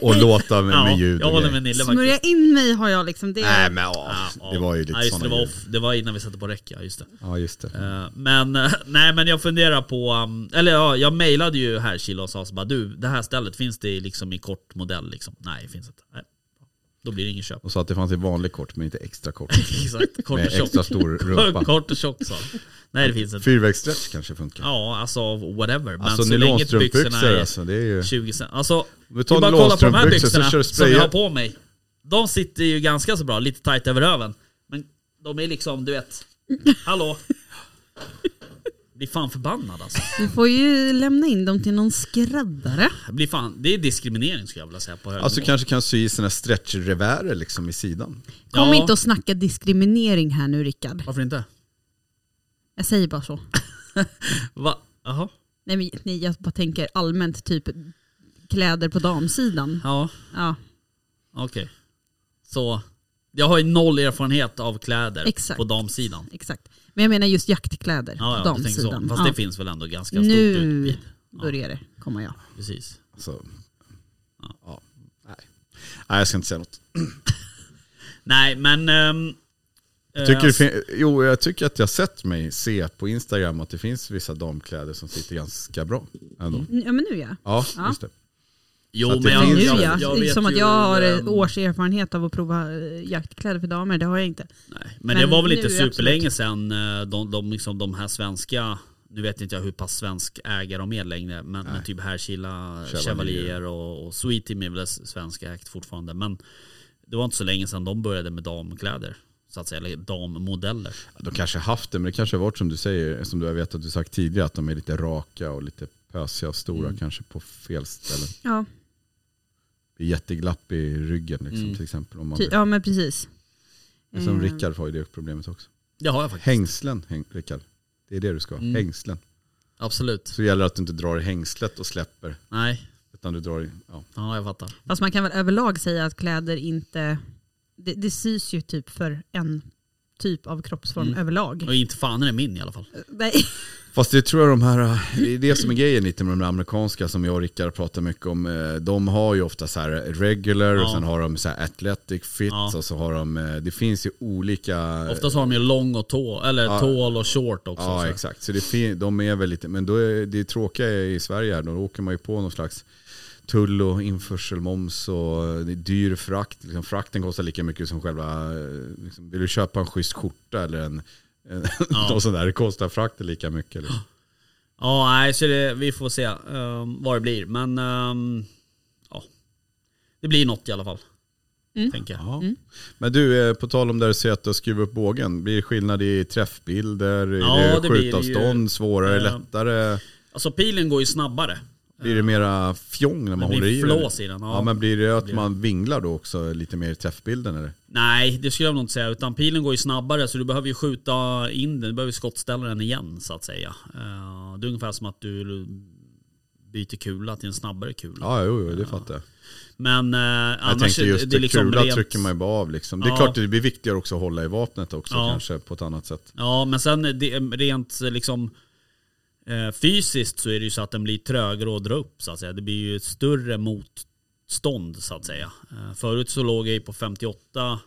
E: och, och låta med, med ljud.
C: jag
E: och
C: håller
E: grejer.
C: med Nille
F: Smörja
C: faktiskt.
F: in mig har jag liksom det.
E: Nej men ja,
C: Ja,
E: det var ju lite
C: ja, just, det,
E: sådana
C: var
E: ljud.
C: off, det var innan vi satte på räcka, just det.
E: Ja just det.
C: Eh, Men, eh, nej men jag funderar på, um, eller ja, jag mejlade ju här Kila och sa så bara du, det här stället finns det liksom i kort modell liksom? Nej, finns inte. Nej. Då blir det ingen köp.
E: Och sa att det fanns i vanlig kort men inte extra kort.
C: Exakt, kort
E: Med
C: och
E: extra
C: tjock.
E: stor rumpa.
C: Kort och tjock sa han. Nej det finns inte.
E: Fyrvägsstretch kanske funkar.
C: Ja, alltså whatever. Men
E: alltså
C: så länge byxorna
E: nylonstrumpbyxor
C: är
E: alltså. Det är ju...
C: 20 cent. Alltså,
E: vi
C: vi
E: tar
C: bara kolla på de här
E: nylonstrumpbyxor så
C: byxorna
E: kör du
C: som jag
E: spraya.
C: har på mig. De sitter ju ganska så bra, lite tight över röven. Men de är liksom, du vet, hallå? Blir fan förbannad alltså.
F: Du får ju lämna in dem till någon skräddare.
C: Blir fan, det är diskriminering skulle jag vilja säga på hög
E: Alltså
C: nivå.
E: kanske kan sy sina stretchrevärer liksom i sidan.
F: Kom
C: Ja.
F: inte och snacka diskriminering här nu Rickard.
C: Varför inte?
F: Jag säger bara så.
C: Va? Jaha?
F: Nej, men, nej jag bara tänker allmänt typ kläder på damsidan.
C: Ja,
F: Ja,
C: okej. Så, jag har ju noll erfarenhet av kläder
F: Exakt.
C: på damsidan.
F: exakt. Men jag menar just jaktkläder
C: Ja,
F: på
C: ja, du tänker så.
F: damsidan.
C: Fast
F: ja.
C: det finns väl ändå ganska stort
F: nu
C: utbud.
F: börjar det komma jag.
C: Precis.
E: Så. Alltså, Ja. Nej. Nej jag ska inte säga något.
C: Nej, men... ehm,
E: Jag tycker det
C: eh,
E: fin- jo jag tycker att jag sett mig se på Instagram att det finns vissa damkläder som sitter ganska bra ändå.
F: Ja men nu ja.
E: Mm. Ja,
F: Ja.
E: just det.
C: Jo,
E: Att det
C: men jag,
E: finns-
F: nu
C: jag,
F: ja.
C: jag, vet
F: som att
C: ju,
F: jag har
C: ehm,
F: ett års erfarenhet av att prova eh, jaktkläder för damer, det har jag inte.
C: Nej, men,
F: men
C: det var väl
F: nu
C: inte
F: är det
C: superlänge sedan eh, de, de, liksom, de här svenska, nu vet inte jag hur pass svensk ägare de är längre, men, men typ Härkila,
E: Chevalier.
C: Chevalier, och, och Sweet Team är väl svenska ägt fortfarande. Men det var inte så länge sedan de började med damkläder. Så att säga, eller dammodeller.
E: De kanske haft det men det kanske har varit som du säger, som du har vetat att du sagt tidigare att de är lite raka och lite pösiga och stora kanske på fel ställen.
F: Ja,
E: Det är jätteglapp i ryggen liksom,
C: Mm.
E: till exempel. Om man,
F: ty- ja men precis.
E: Som
F: Eh,
E: Rickard har ju det problemet också.
C: Det har jag faktiskt.
E: Hängslen, häng, Rickard. Det är det du ska ha.
C: Mm.
E: Hängslen.
C: Absolut.
E: Så gäller det att du inte drar i hängslet och släpper.
C: Nej,
E: Utan du drar i, ja.
C: ja, jag fattar.
F: Fast man kan väl överlag säga att kläder inte, det, det sys ju typ för en typ av kroppsform
C: Mm.
F: överlag.
C: Och inte fan är det min i alla fall.
F: Nej.
E: Fast det tror jag de här, äh, det är det som är grejen lite med de amerikanska som jag och Rickard pratar mycket om. Eh, De har ju ofta så här regular och
C: Ja.
E: sen har de så här athletic fit
C: Ja.
E: och så har de, eh, det finns ju olika.
C: Oftast har de ju lång och tå, eller
E: Eh, Ja.
C: tål och short också. så
E: Ja
C: här.
E: exakt, så det fin- de är väl lite, men då är det tråkiga är i Sverige här, då åker man ju på någon slags tull och införselmoms och det är dyr frakt. Liksom, frakten kostar lika mycket som själva, eh, liksom, vill du köpa en schysst skjorta eller en, en
C: Ja.
E: någon sån där, det kostar frakten lika mycket. Liksom.
C: Ja, nej, så det, vi får se um, vad det blir. Men ehm, ja, det blir något i alla fall. Tänker jag.
E: Ja. Men du, eh, på tal om där du säger att du har skruvat upp bågen, blir det skillnad i träffbilder,
C: Ja,
E: är det
C: det blir det ju.
E: skjutavstånd, svårare,
C: Eh,
E: lättare?
C: Alltså pilen går ju snabbare.
E: Blir det mera fjong när man
C: blir
E: håller i
C: flås
E: den?
C: i den,
E: Ja.
C: ja.
E: men blir det att man vinglar då också lite mer i träffbilden eller?
C: Nej, det skulle jag nog inte säga. Utan pilen går ju snabbare så du behöver ju skjuta in den. Du behöver skottställa den igen så att säga. Eh, Det är ungefär som att du byter kula till en snabbare kula.
E: Ja, jo, jo det fattar jag.
C: Men eh,
E: Jag
C: annars
E: tänkte
C: är
E: just
C: det
E: det,
C: är liksom
E: kula
C: rent...
E: trycker man ju bara av liksom. Det är
C: Ja.
E: klart det blir viktigare också att hålla i vapnet också
C: Ja.
E: kanske på ett annat sätt.
C: Ja, men sen är det, rent liksom eh, fysiskt så är det ju så att den blir trögare att dra upp så att säga. Det blir ju ett större motstånd så att säga. Eh, förut så låg jag ju på 58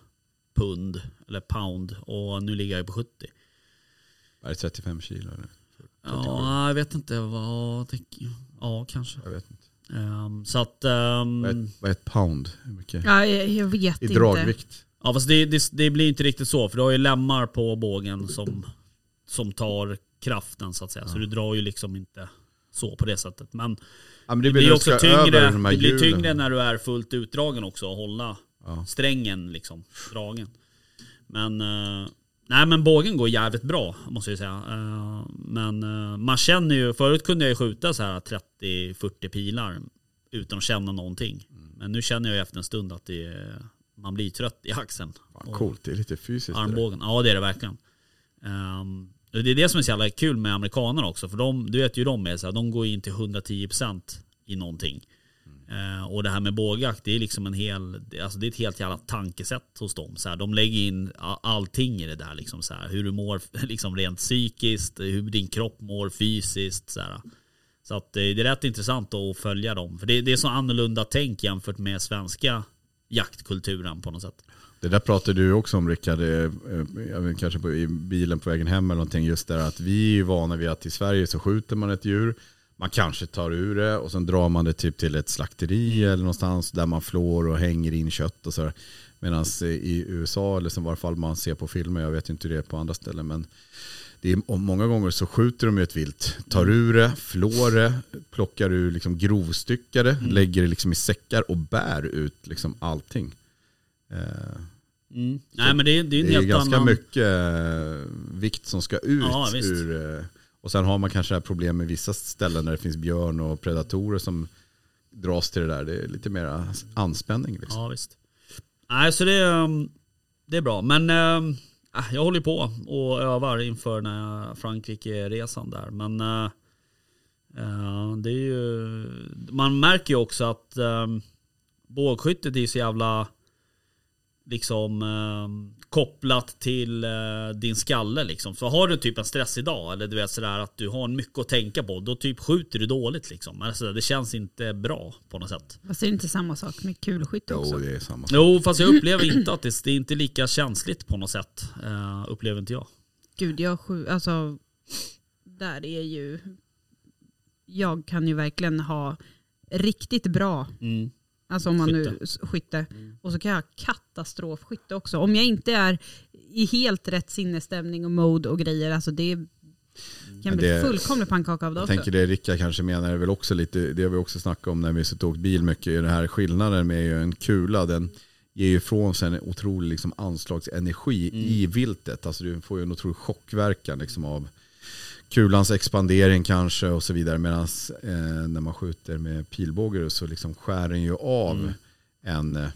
C: pund eller pound och nu ligger jag ju på 70.
E: Är det 35 kilo eller?
C: Ja, jag vet inte vad... det- Ja, kanske.
E: Jag vet inte.
C: Ehm, så att... ehm,
E: Vad är ett, vad är ett pound? Hur mycket?
F: Ja, jag, jag vet
E: I
F: inte.
E: dragvikt?
C: Ja fast det, det, det blir inte riktigt så för du har ju lemmar på bågen som, som tar kraften så att säga. Så du drar ju liksom inte så på det sättet. Men
E: Ja, men
C: det
E: när
C: blir ju
E: du
C: också
E: ska
C: tyngre,
E: över de här
C: det blir
E: hjulen.
C: tyngre när du är fullt utdragen också och hålla
E: Ja.
C: strängen liksom dragen. Men, eh, nej men bågen går jävligt bra måste jag säga. Eh, men eh, man känner ju, förut kunde jag ju skjuta så här 30-40 pilar utan att känna någonting.
E: Mm.
C: Men nu känner jag ju efter en stund att det, är- man blir trött i axeln.
E: Fan, coolt, det är lite fysiskt. det där.
C: Armbågen, ja det är det verkligen. Ehm, och det är det som är så jävla kul med amerikaner också. För de, du vet ju hur de är så här, de går in till 110% i någonting. Eh, och det här med bågjakt, det är liksom en hel, det- alltså det är ett helt jävla tankesätt hos dem. Så här, de lägger in a- allting i det där. Liksom, så här, hur du mår liksom, rent psykiskt, hur din kropp mår fysiskt. Så, här. så att, eh, det är rätt intressant att följa dem. För det, det är så annorlunda tänk jämfört med svenska jaktkulturen på något sätt.
E: Det där pratade du också om Rickard, eh, eh, jag vet, kanske på, i bilen på vägen hem eller någonting. Just där att vi är ju vana vid att i Sverige så skjuter man ett djur, man kanske tar ur det och sen drar man det typ till ett slakteri eller någonstans där man flår och hänger in kött och sådär. Medan i USA, eller som i varje fall man ser på filmer, jag vet ju inte hur det är på andra ställen, men det är, och många gånger så skjuter de ju ett vilt, tar ur det, flår det, plockar ur liksom grovstyckare, lägger det liksom i säckar och bär ut liksom allting. Eh,
C: Mm. Nej men det, är- det är en
E: det är
C: helt
E: ganska
C: annan...
E: mycket eh, vikt som ska ut.
C: Ja, visst.
E: ur, eh, och sen har man kanske det här problem med vissa ställen där det finns björn och predatorer som dras till det där. Det är lite mer anspänning. Liksom.
C: Ja visst. Nej så det, ehm, det är bra. Men ehm, ah, jag håller på och övar inför när jag- Frankrike-resan där. Men eh, eh, det är ju, man märker ju också att um, bågskyttet är så jävla liksom eh, kopplat till eh, din skalle liksom. Så har du typ en stress idag eller du vet sådär att du har mycket att tänka på. Då typ skjuter du dåligt liksom. Alltså, det känns inte bra på något sätt.
F: Fast det är inte samma sak med kulskytte också.
E: Jo, det är samma.
C: Jo, fast jag upplever inte att det, det är inte lika känsligt på något sätt. Eh, upplever inte jag.
F: Gud, jag sju, alltså där är ju, jag kan ju verkligen ha riktigt bra,
C: Mm.
F: alltså om man nu
C: Skytte.
F: s- skytte,
E: Mm.
F: och så kan jag ha katastrofskytte också. Om jag inte är i helt rätt sinnesstämning och mode och grejer, alltså det kan bli
E: det-
F: fullkomlig pannkaka av det
E: Jag
F: också.
E: tänker det Rickard kanske menar är väl också lite, det har vi också snackat om när vi suttit och åkt bil mycket, är den här skillnaden med ju en kula, den ger ju ifrån sig en otrolig liksom anslagsenergi i viltet. Alltså du får ju en otrolig chockverkan liksom av kulans expandering kanske och så vidare. Medan eh, när man skjuter med pilbåge så liksom skär den ju av en eh,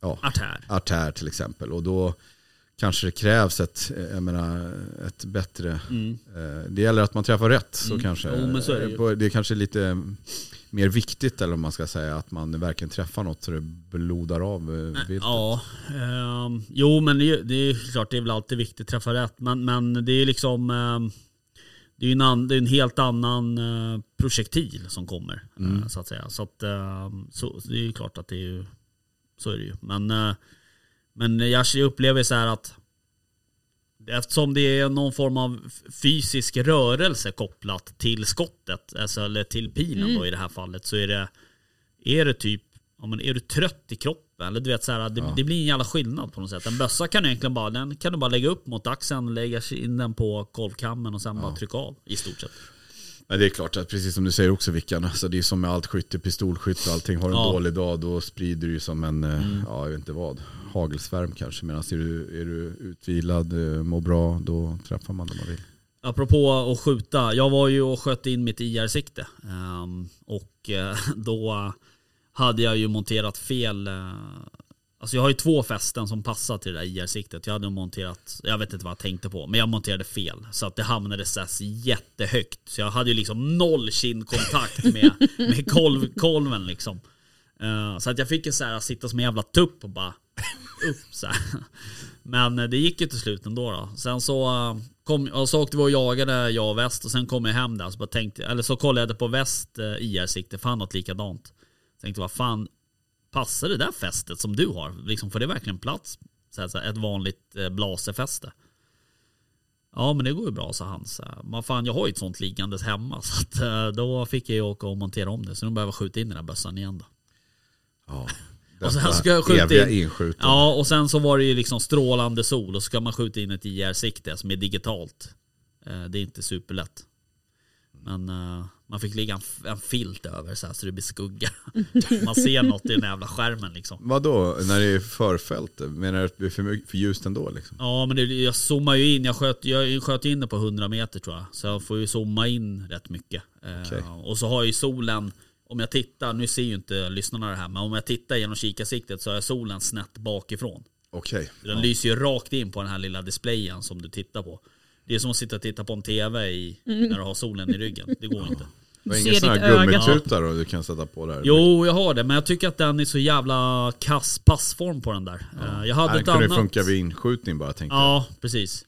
E: ja,
C: Artär.
E: artär till exempel. Och då kanske det krävs ett, eh, jag menar, ett bättre... eh, Det gäller att man träffar rätt så kanske.
C: Mm. Jo, men så är det ju.
E: eh, på- det är kanske lite mer viktigt eller om man ska säga att man verkligen träffar något så det blodar av eh, viltet.
C: Ja, ehm, jo men det, är ju- det är ju klart det är väl alltid viktigt att träffa rätt. Men, men det är liksom ehm, det är ju en, an, det är en helt annan eh, projektil som kommer. eh, så att säga. Så, att, ehm, så, så det är ju klart att det är ju, så är det ju. Men, eh, men jag upplever så här att Eftersom det är någon form av f- fysisk rörelse kopplat till skottet, alltså, eller till pilen då i det här fallet, så är det, är det typ, ja, men är du trött i kroppen? Eller du vet så här, det, det blir en jävla skillnad på något sätt. En bössa kan du egentligen bara, den kan du bara lägga upp mot axeln, lägga in den på kolvkammen och sen bara trycka av i stort sett.
E: Men det är klart att precis som du säger också Vickan, alltså det är som med allt skytte, pistolskytte och allting. Har du en
C: Ja. Mm.
E: dålig dag då sprider du ju som en, eh, ja jag vet inte vad, hagelsvärm kanske. Medan är du, är du utvilad, eh, mår bra, då träffar man det man vill.
C: Apropå att skjuta, jag var ju och sköt in mitt IR-sikte. Ehm, och eh, då hade jag ju monterat fel. eh, Alltså jag har ju två fästen som passar till det där IR-siktet. Jag hade nog monterat, jag vet inte vad jag tänkte på, men jag monterade fel. Så att det hamnade så här jättehögt. Så jag hade ju liksom noll kindkontakt med, med kolv, kolven liksom. Eh, Så att jag fick ju så här sitta som en jävla tupp och bara upp så här. Men eh, det gick ju till slut ändå då. Sen så eh, kom, och så åkte vi och jagade jag och väst och sen kom jag hem där så bara tänkte, eller så kollade jag på väst eh, IR-sikte, fan något likadant. Tänkte vad fan passar det där fästet som du har? Liksom, får det verkligen plats? Så här, så här, ett vanligt eh, blaserfäste. Ja men det går ju bra sa han. Så här, "Men fan jag har ju ett sånt liggandes hemma så att, eh, då fick jag ju åka och montera om det så nu behöver jag skjuta in den där bössan igen då.
E: Ja.
C: Och sen ska jag skjuta
E: eviga
C: in-
E: inskjuten.
C: Ja, och sen så var det ju liksom strålande sol och så ska man skjuta in ett IR-sikte som är digitalt. Eh, Det är inte superlätt. Men eh, man fick ligga en, f- en filt över så här så det blir skugga. man ser något i den jävla skärmen liksom.
E: Vadå, när det är förfält? Menar du att det blir för, mycket- för ljust ändå liksom?
C: Ja, men det, jag zoomar ju in. Jag sköt, jag sköt in det på 100 meter tror jag. Så jag får ju zooma in rätt mycket. Eh,
E: Okej.
C: Och så har ju solen, om jag tittar, nu ser ju inte lyssnarna det här, men om jag tittar genom kikarsiktet så har jag solen snett bakifrån.
E: Okej.
C: Den lyser ju rakt in på den här lilla displayen som du tittar på. Det är som att sitta och titta på en TV i, när du har solen i ryggen. Det går inte.
E: Det var
F: ser
E: inga sådana
F: ditt
E: här
F: öga.
E: gummitutar då, du kan sätta på där?
C: Jo, jag har det, men jag tycker att den är så jävla kass passform på den där. Eh, Jag hade
E: Här
C: ett
E: kunde det
C: annat...
E: funka vid inskjutning bara tänkte jag.
C: Ja, precis.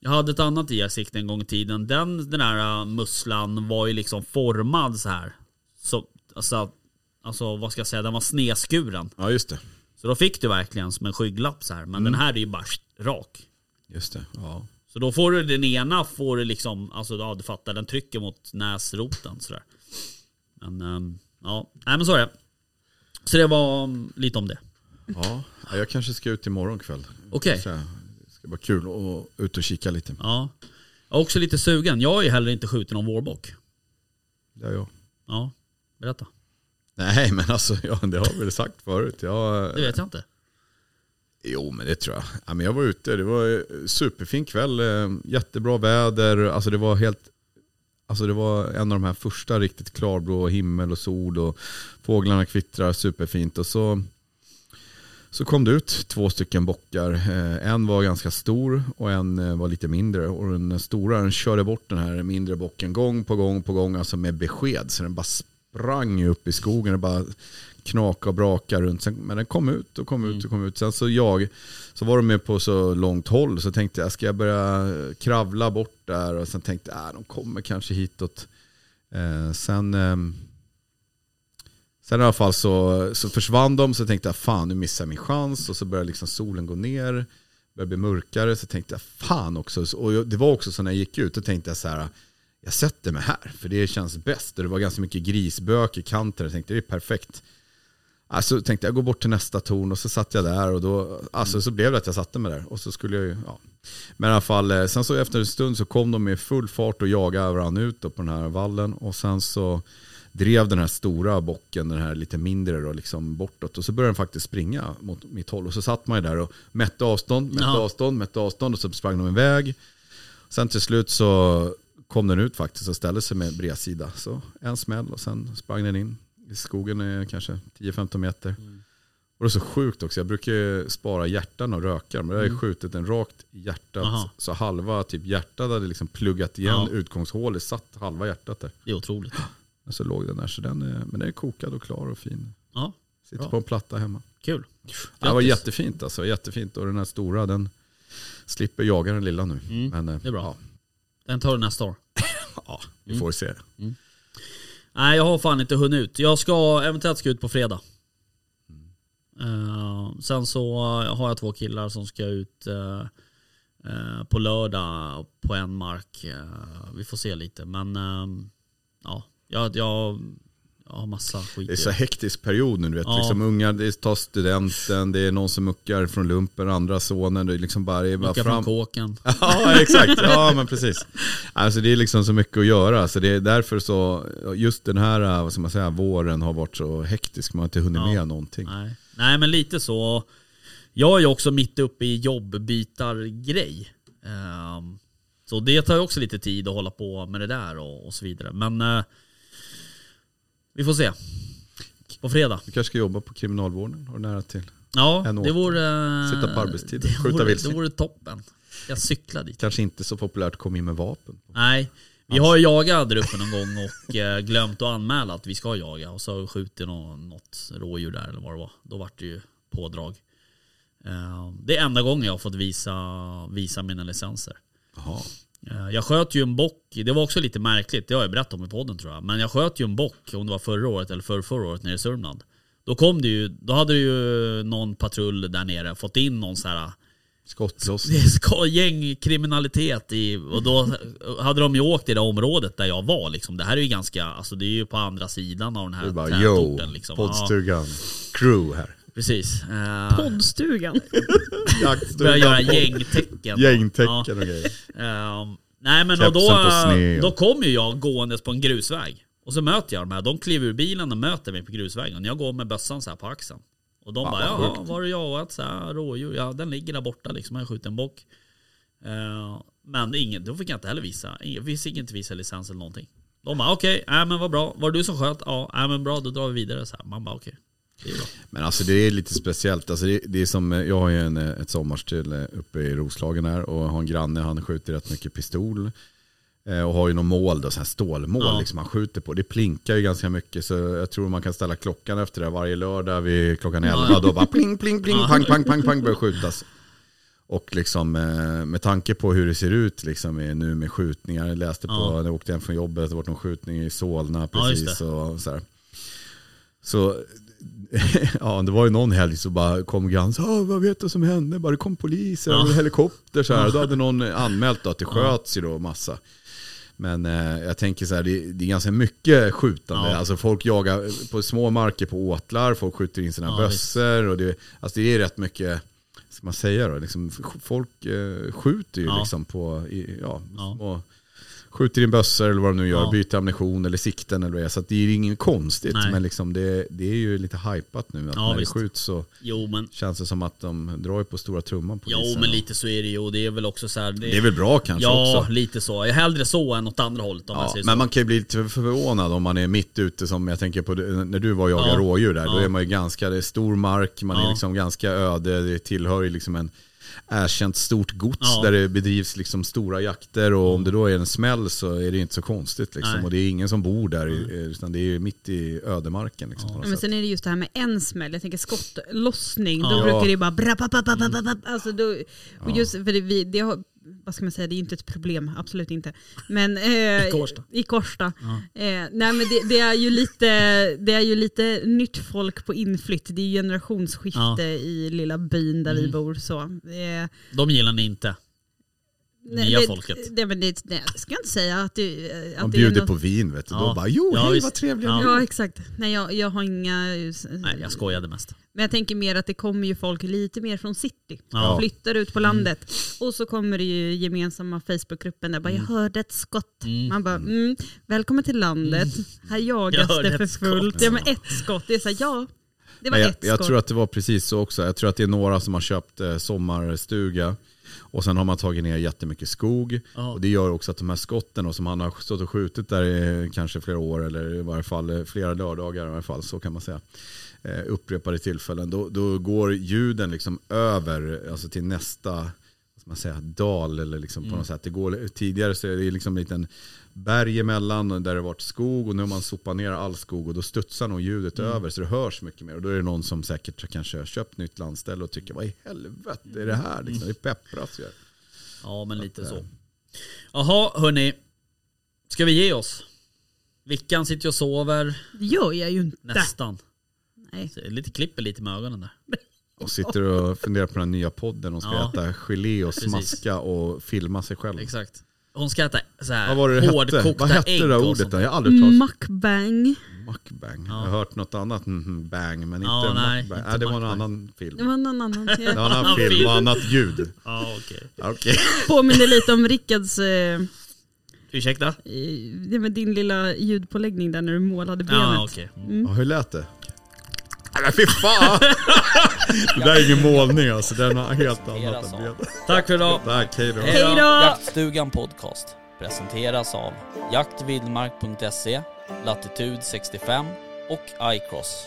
C: Jag hade ett annat IR-sikte en gång i tiden. Den, den här äh, musslan var ju liksom formad så här. Så, alltså, alltså, vad ska jag säga? Den var snedskuren.
E: Ja just det.
C: Så då fick du verkligen som en skygglapp så här. Men
E: Mm.
C: den här är ju bara rak.
E: Just det. Ja.
C: Så då får du den ena får du liksom, alltså ja du fattar, den trycker mot näsroten sådär. Men ehm, ja, nej men så är det. Så det var mm, lite om det.
E: Ja. ja, jag kanske ska ut imorgon kväll.
C: Okej.
E: Så här, Det ska vara kul att ut och kika lite.
C: Ja. Jag är också lite sugen, jag har ju heller inte skjutit någon vårbock.
E: Det är jag.
C: Ja, berätta.
E: Nej men alltså, ja, det har vi väl sagt förut. Jag,
C: Det vet jag inte.
E: Jo, men det tror jag. Ja, men jag var ute, det var eh, superfin kväll, eh, jättebra väder. Alltså det var helt... Alltså det var en av de här första riktigt klarblå himmel och sol och fåglarna kvittrar superfint. Och så, så kom det ut två stycken bockar. Eh, En var ganska stor och en eh, var lite mindre. Och den stora den körde bort den här mindre bocken gång på gång på gång, alltså med besked. Så den bara sprang ju upp i skogen och bara knaka och braka runt. Sen, men den kom ut och kom ut och kom ut. Sen så jag, så var de med på så långt håll så tänkte jag, ska jag börja kravla bort där? Och sen tänkte jag, äh, de kommer kanske hitåt. Eh, sen, ehm, sen i alla fall så, så försvann de så tänkte jag, fan nu missar jag min chans. Och så började liksom solen gå ner, började bli mörkare. Så tänkte jag, fan också. Så- Och jag- det var också så när jag gick ut, då tänkte jag så här, jag sätter mig här, för det känns bäst. Och det var ganska mycket grisbök i kanten. Jag tänkte, det är perfekt. Alltså tänkte jag gå bort till nästa torn och så satt jag där och då, alltså så blev det att jag satte mig där och så skulle jag ju, ja. Men i alla fall, eh, sen så efter en stund så kom de med full fart och jagade varandra ut då på den här vallen och sen så drev den här stora bocken, den här lite mindre då, liksom bortåt och så började den faktiskt springa mot mitt håll och så satt man ju där och mätte avstånd, mätte
C: Ja.
E: avstånd, mätte avstånd och så sprang de iväg. Sen till slut så kom den ut faktiskt och ställde sig med bredsida. Så en smäll och sen sprang den in i skogen eh, kanske 10-15 meter.
C: Mm.
E: Och det är så sjukt också, jag brukar ju spara hjärtan och röka men jag har ju skjutit den rakt i hjärtat.
C: Mm. Aha.
E: Så halva typ hjärtat hade liksom pluggat igen
C: Ja.
E: utgångshålet, satt halva hjärtat där.
C: Det är otroligt.
E: Men så låg den där, så den är, men den är kokad och klar och fin.
C: Ja,
E: Sitter
C: Bra.
E: på en platta hemma.
C: kul.
E: Ja, det var
C: Grattis.
E: jättefint alltså, jättefint. Och den här stora den slipper jaga den lilla nu.
C: Mm,
E: Men eh,
C: det är bra.
E: Ja,
C: Den tar du nästa år.
E: ja,
C: Mm.
E: vi får se.
C: Nej jag har fan inte hunnit ut. Jag ska eventuellt ska ut på fredag. Eh, sen så eh, har jag två killar som ska ut eh, eh, på lördag på en mark. Eh, vi får se lite men eh, ja, jag, jag, jag har massa skit
E: Det är
C: i
E: så
C: det.
E: hektisk period nu. Du vet.
C: Ja.
E: Liksom ungar, det tar studenten, det är någon som muckar från lumpen, andra sonen. Det är liksom bara, det är bara
C: Mucka
E: fram.
C: från kåken.
E: Ja exakt, ja men precis. Alltså det är liksom så mycket att göra. Så det är därför så, just den här eh, vad ska man säga, våren har varit så hektisk. Man har inte hunnit
C: Ja.
E: med någonting.
C: Nej. Nej men lite så. Jag är ju också mitt uppe i jobbbytargrej. Ehm, Så det tar ju också lite tid att hålla på med det där och, och så vidare. Men eh, vi får se. På fredag.
E: Du kanske ska jobba på kriminalvården, har du nära till.
C: Ja,
E: En
C: det
E: åter.
C: vore... eh,
E: Sitta på arbetstid,
C: det
E: skjuta
C: vore-
E: vildsvin.
C: Det vore toppen. Jag cyklar dit.
E: Kanske inte så populärt att komma in med vapen.
C: Nej, vi har ju jagat där uppe någon gång och eh, glömt att anmäla att vi ska jaga. Och så har vi skjutit nå- något rådjur där eller vad det var. Då vart det ju pådrag. Eh, Det är enda gången jag har fått visa, visa mina licenser.
E: Jaha.
C: Eh, Jag sköt ju en bock, det var också lite märkligt, det har jag berättat om i podden tror jag. Men jag sköt ju en bock, om det var förra året eller förra, förra året nere i Sörmland. Då kom det ju, då hade ju någon patrull där nere fått in någon så här det
E: Skottlossning.
C: är ska- gängkriminalitet i, och då hade de ju åkt i det området där jag var liksom. Det här är ju ganska, alltså det är ju på andra sidan av den
E: Du
C: här
E: bara yo,
C: tätorten liksom. Ja,
E: poddstugan, crew här.
C: precis. Eh,
F: Poddstugan.
C: börja göra
E: podd-
C: gängtecken.
E: Gängtecken
C: Ja.
E: och grejer.
C: Ehm, nej men och
E: Kepsen
C: då,
E: på sned.
C: då kom ju jag gåendes på en grusväg. Och så möter jag de här. De kliver ur bilen och möter mig på grusvägen. Jag går med bössan så här på axeln. Och de bara,
E: vad
C: jaha, var du jagat så här rådjur? Ja, den ligger där borta liksom. Jag har skjutit en bock. Ehm, men ingen, då fick jag inte heller visa. Ingen, vi fick inte visa licens eller någonting. De bara, okej, nej men vad bra. Var det du som sköt? Ja, nej men bra, då drar vi vidare. Så här. Man bara, okej. Det är bra.
E: Men alltså det är lite speciellt. Alltså det, det är som, eh, jag har ju en, eh, ett sommarställe uppe i Roslagen här och har en granne, han skjuter rätt mycket pistol. Eh, Och har ju något mål, då, så här stålmål
C: Ja.
E: liksom han skjuter på. Det plinkar ju ganska mycket så jag tror man kan ställa klockan efter det. Varje lördag vid klockan 11
C: ja.
E: då bara pling, pling, pling,
C: Ja.
E: pang, pang, pang, pang börjar skjutas. Och liksom eh, med tanke på hur det ser ut liksom i- nu med skjutningar. Jag läste på,
C: Ja.
E: när jag åkte hem från jobbet, det var någon skjutning i Solna
C: Ja, just
E: precis. och så här. Så ja, det var ju någon helg så bara kom grann så "Ah, vad vet du som hände? Bara det kom poliser
C: Ja.
E: och helikopter så här. Då hade någon anmält då att det sköts ju då massa. Men eh, jag tänker så här, det, det är ganska mycket skjutande.
C: Ja.
E: Alltså folk jagar på små marker på åtlar, folk skjuter in sina
C: Ja,
E: bössor och det, alltså det är rätt mycket, vad ska man säga då, liksom, f- folk eh, skjuter ju
C: Ja.
E: liksom på, i, ja,
C: Ja.
E: små, skjuter in bössor eller vad de nu gör,
C: Ja.
E: byter ammunition eller sikten eller vad det är. Så att det är ju inget konstigt,
C: Nej.
E: men liksom det, det är ju lite hypat nu. Att
C: Ja,
E: när
C: visst.
E: det skjuts så
C: Jo men,
E: känns det som att de drar ju på stora trumman. På
C: jo men lite så är det ju. Och det är väl också så här.
E: Det är väl bra kanske
C: Ja,
E: Alltså också.
C: lite så. Hellre så än åt andra hållet om man
E: Ja,
C: säger så.
E: men man kan ju bli lite förvånad om man är mitt ute som jag tänker på du- när du var och jagade
C: Ja.
E: rådjur där. Då
C: Ja.
E: är man ju ganska, det är stor mark, man
C: Ja.
E: är liksom ganska öde, det tillhör ju liksom en erkänt stort gods
C: Ja.
E: där det bedrivs liksom stora jakter och om det då är en smäll så är det ju inte så konstigt liksom.
C: Nej. Mm.
E: Och det är ingen som bor där i- utan det är ju mitt i ödemarken liksom. på något
F: Men
E: sätt.
F: sen är det just det här med en smäll, jag tänker skottlossning, då
C: Ja.
F: brukar det bara bra, bra, bra, bra, bra, bra, bra. Alltså då, och just för det, vi, det har, vad ska man säga, det är ju inte ett problem, absolut inte. Men, eh,
C: I Kårsta.
F: I Kårsta. Eh, nej men det, det, är ju lite, det är ju lite nytt folk på inflytt, det är ju generationsskifte
C: Ja. Mm.
F: i lilla byn där vi bor. Så. Eh,
C: De gillar ni inte.
F: nej,
C: Nya
F: det,
C: folket.
F: Nej, men det, nej, jag ska inte säga att det, att
E: Man
F: det är
E: bjuder
F: något-
E: på vin vet du.
C: Ja.
E: Då bara jo,
C: Ja,
E: hej
C: visst.
E: vad trevliga
C: Ja.
E: ni är."
F: Ja exakt. Nej jag, jag har inga...
C: Nej, jag skojade mest.
F: Men jag tänker mer att det kommer ju folk lite mer från city.
C: Ja.
F: Flyttar ut på landet. Och så kommer det ju gemensamma Facebookgruppen där bara jag hörde ett skott. Man bara mm, välkommen till landet. Här jagas
C: Jag hörde
F: det för
C: ett skott.
F: fullt. Ja men ett skott. Det är så här, ja. Det var
E: Nej, jag,
F: ett
E: jag
F: skott.
E: tror att det var precis så också. Jag tror att det är några som har köpt eh, sommarstuga och sen har man tagit ner jättemycket skog.
C: Ja.
E: Och det gör också att de här skotten då, som han har stått och skjutit där i kanske flera år eller i varje fall eh, flera lördagar i varje fall, så kan man säga, eh, upprepade tillfällen, då, då går ljuden liksom över alltså till nästa vad ska man säga, dal eller liksom på något sätt. Det går, tidigare så är det liksom en liten berg emellan och där det varit skog och nu har man sopat ner all skog och då studsar nog ljudet över så det hörs mycket mer. Och då är det någon som säkert kanske har köpt nytt landställe och tycker vad i helvete är det här? Liksom, det peppras ju.
C: Ja, men lite
E: eh,
C: så. Jaha, hörni. Ska vi ge oss? Vickan sitter ju och sover.
F: Det gör jag ju inte.
C: Nästan.
F: Nej.
C: Så Lite klipper lite med ögonen där.
E: Och sitter och funderar på den här nya podden. De ska
C: Ja.
E: äta gelé och
C: Precis.
E: smaska och filma sig själv.
C: Exakt. Hon ska äta så här
E: Vad var det det hette?
C: hårdkokta
E: Vad hette
C: ägg
E: det där
C: och
E: ordet?
C: sånt
E: Då?
C: där.
E: Jag har aldrig
F: Mm.
E: hört
F: Mukbang.
E: mukbang. Jag har hört något annat mm, bang, men inte
C: Ja, nej,
E: mukbang.
C: inte
E: Nej, det var någon
C: mukbang.
E: annan film.
F: Det var någon annan.
E: Det
F: Jag
E: var en annan film och annat ljud.
C: Ja, okej.
E: Okej.
F: påminner lite om Rickards, eh,
C: Ursäkta?
F: eh, det med din lilla ljudpåläggning
C: Mm.
F: där när du målade benet.
C: Ja, okej.
E: Ja, hur lät det? Nej, men fy fan! Det där är ingen målning alltså, den har helt
C: Flera
E: annat än
C: saker.
E: det.
F: Tack för idag.
E: Tack, hej då.
F: Hej då.
C: Jaktstugan Podcast presenteras av jaktvildmark.se, Latitude 65 och iCross.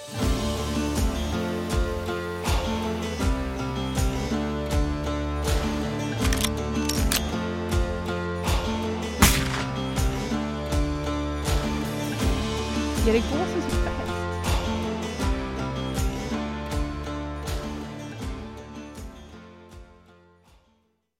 H: Är det gåsen som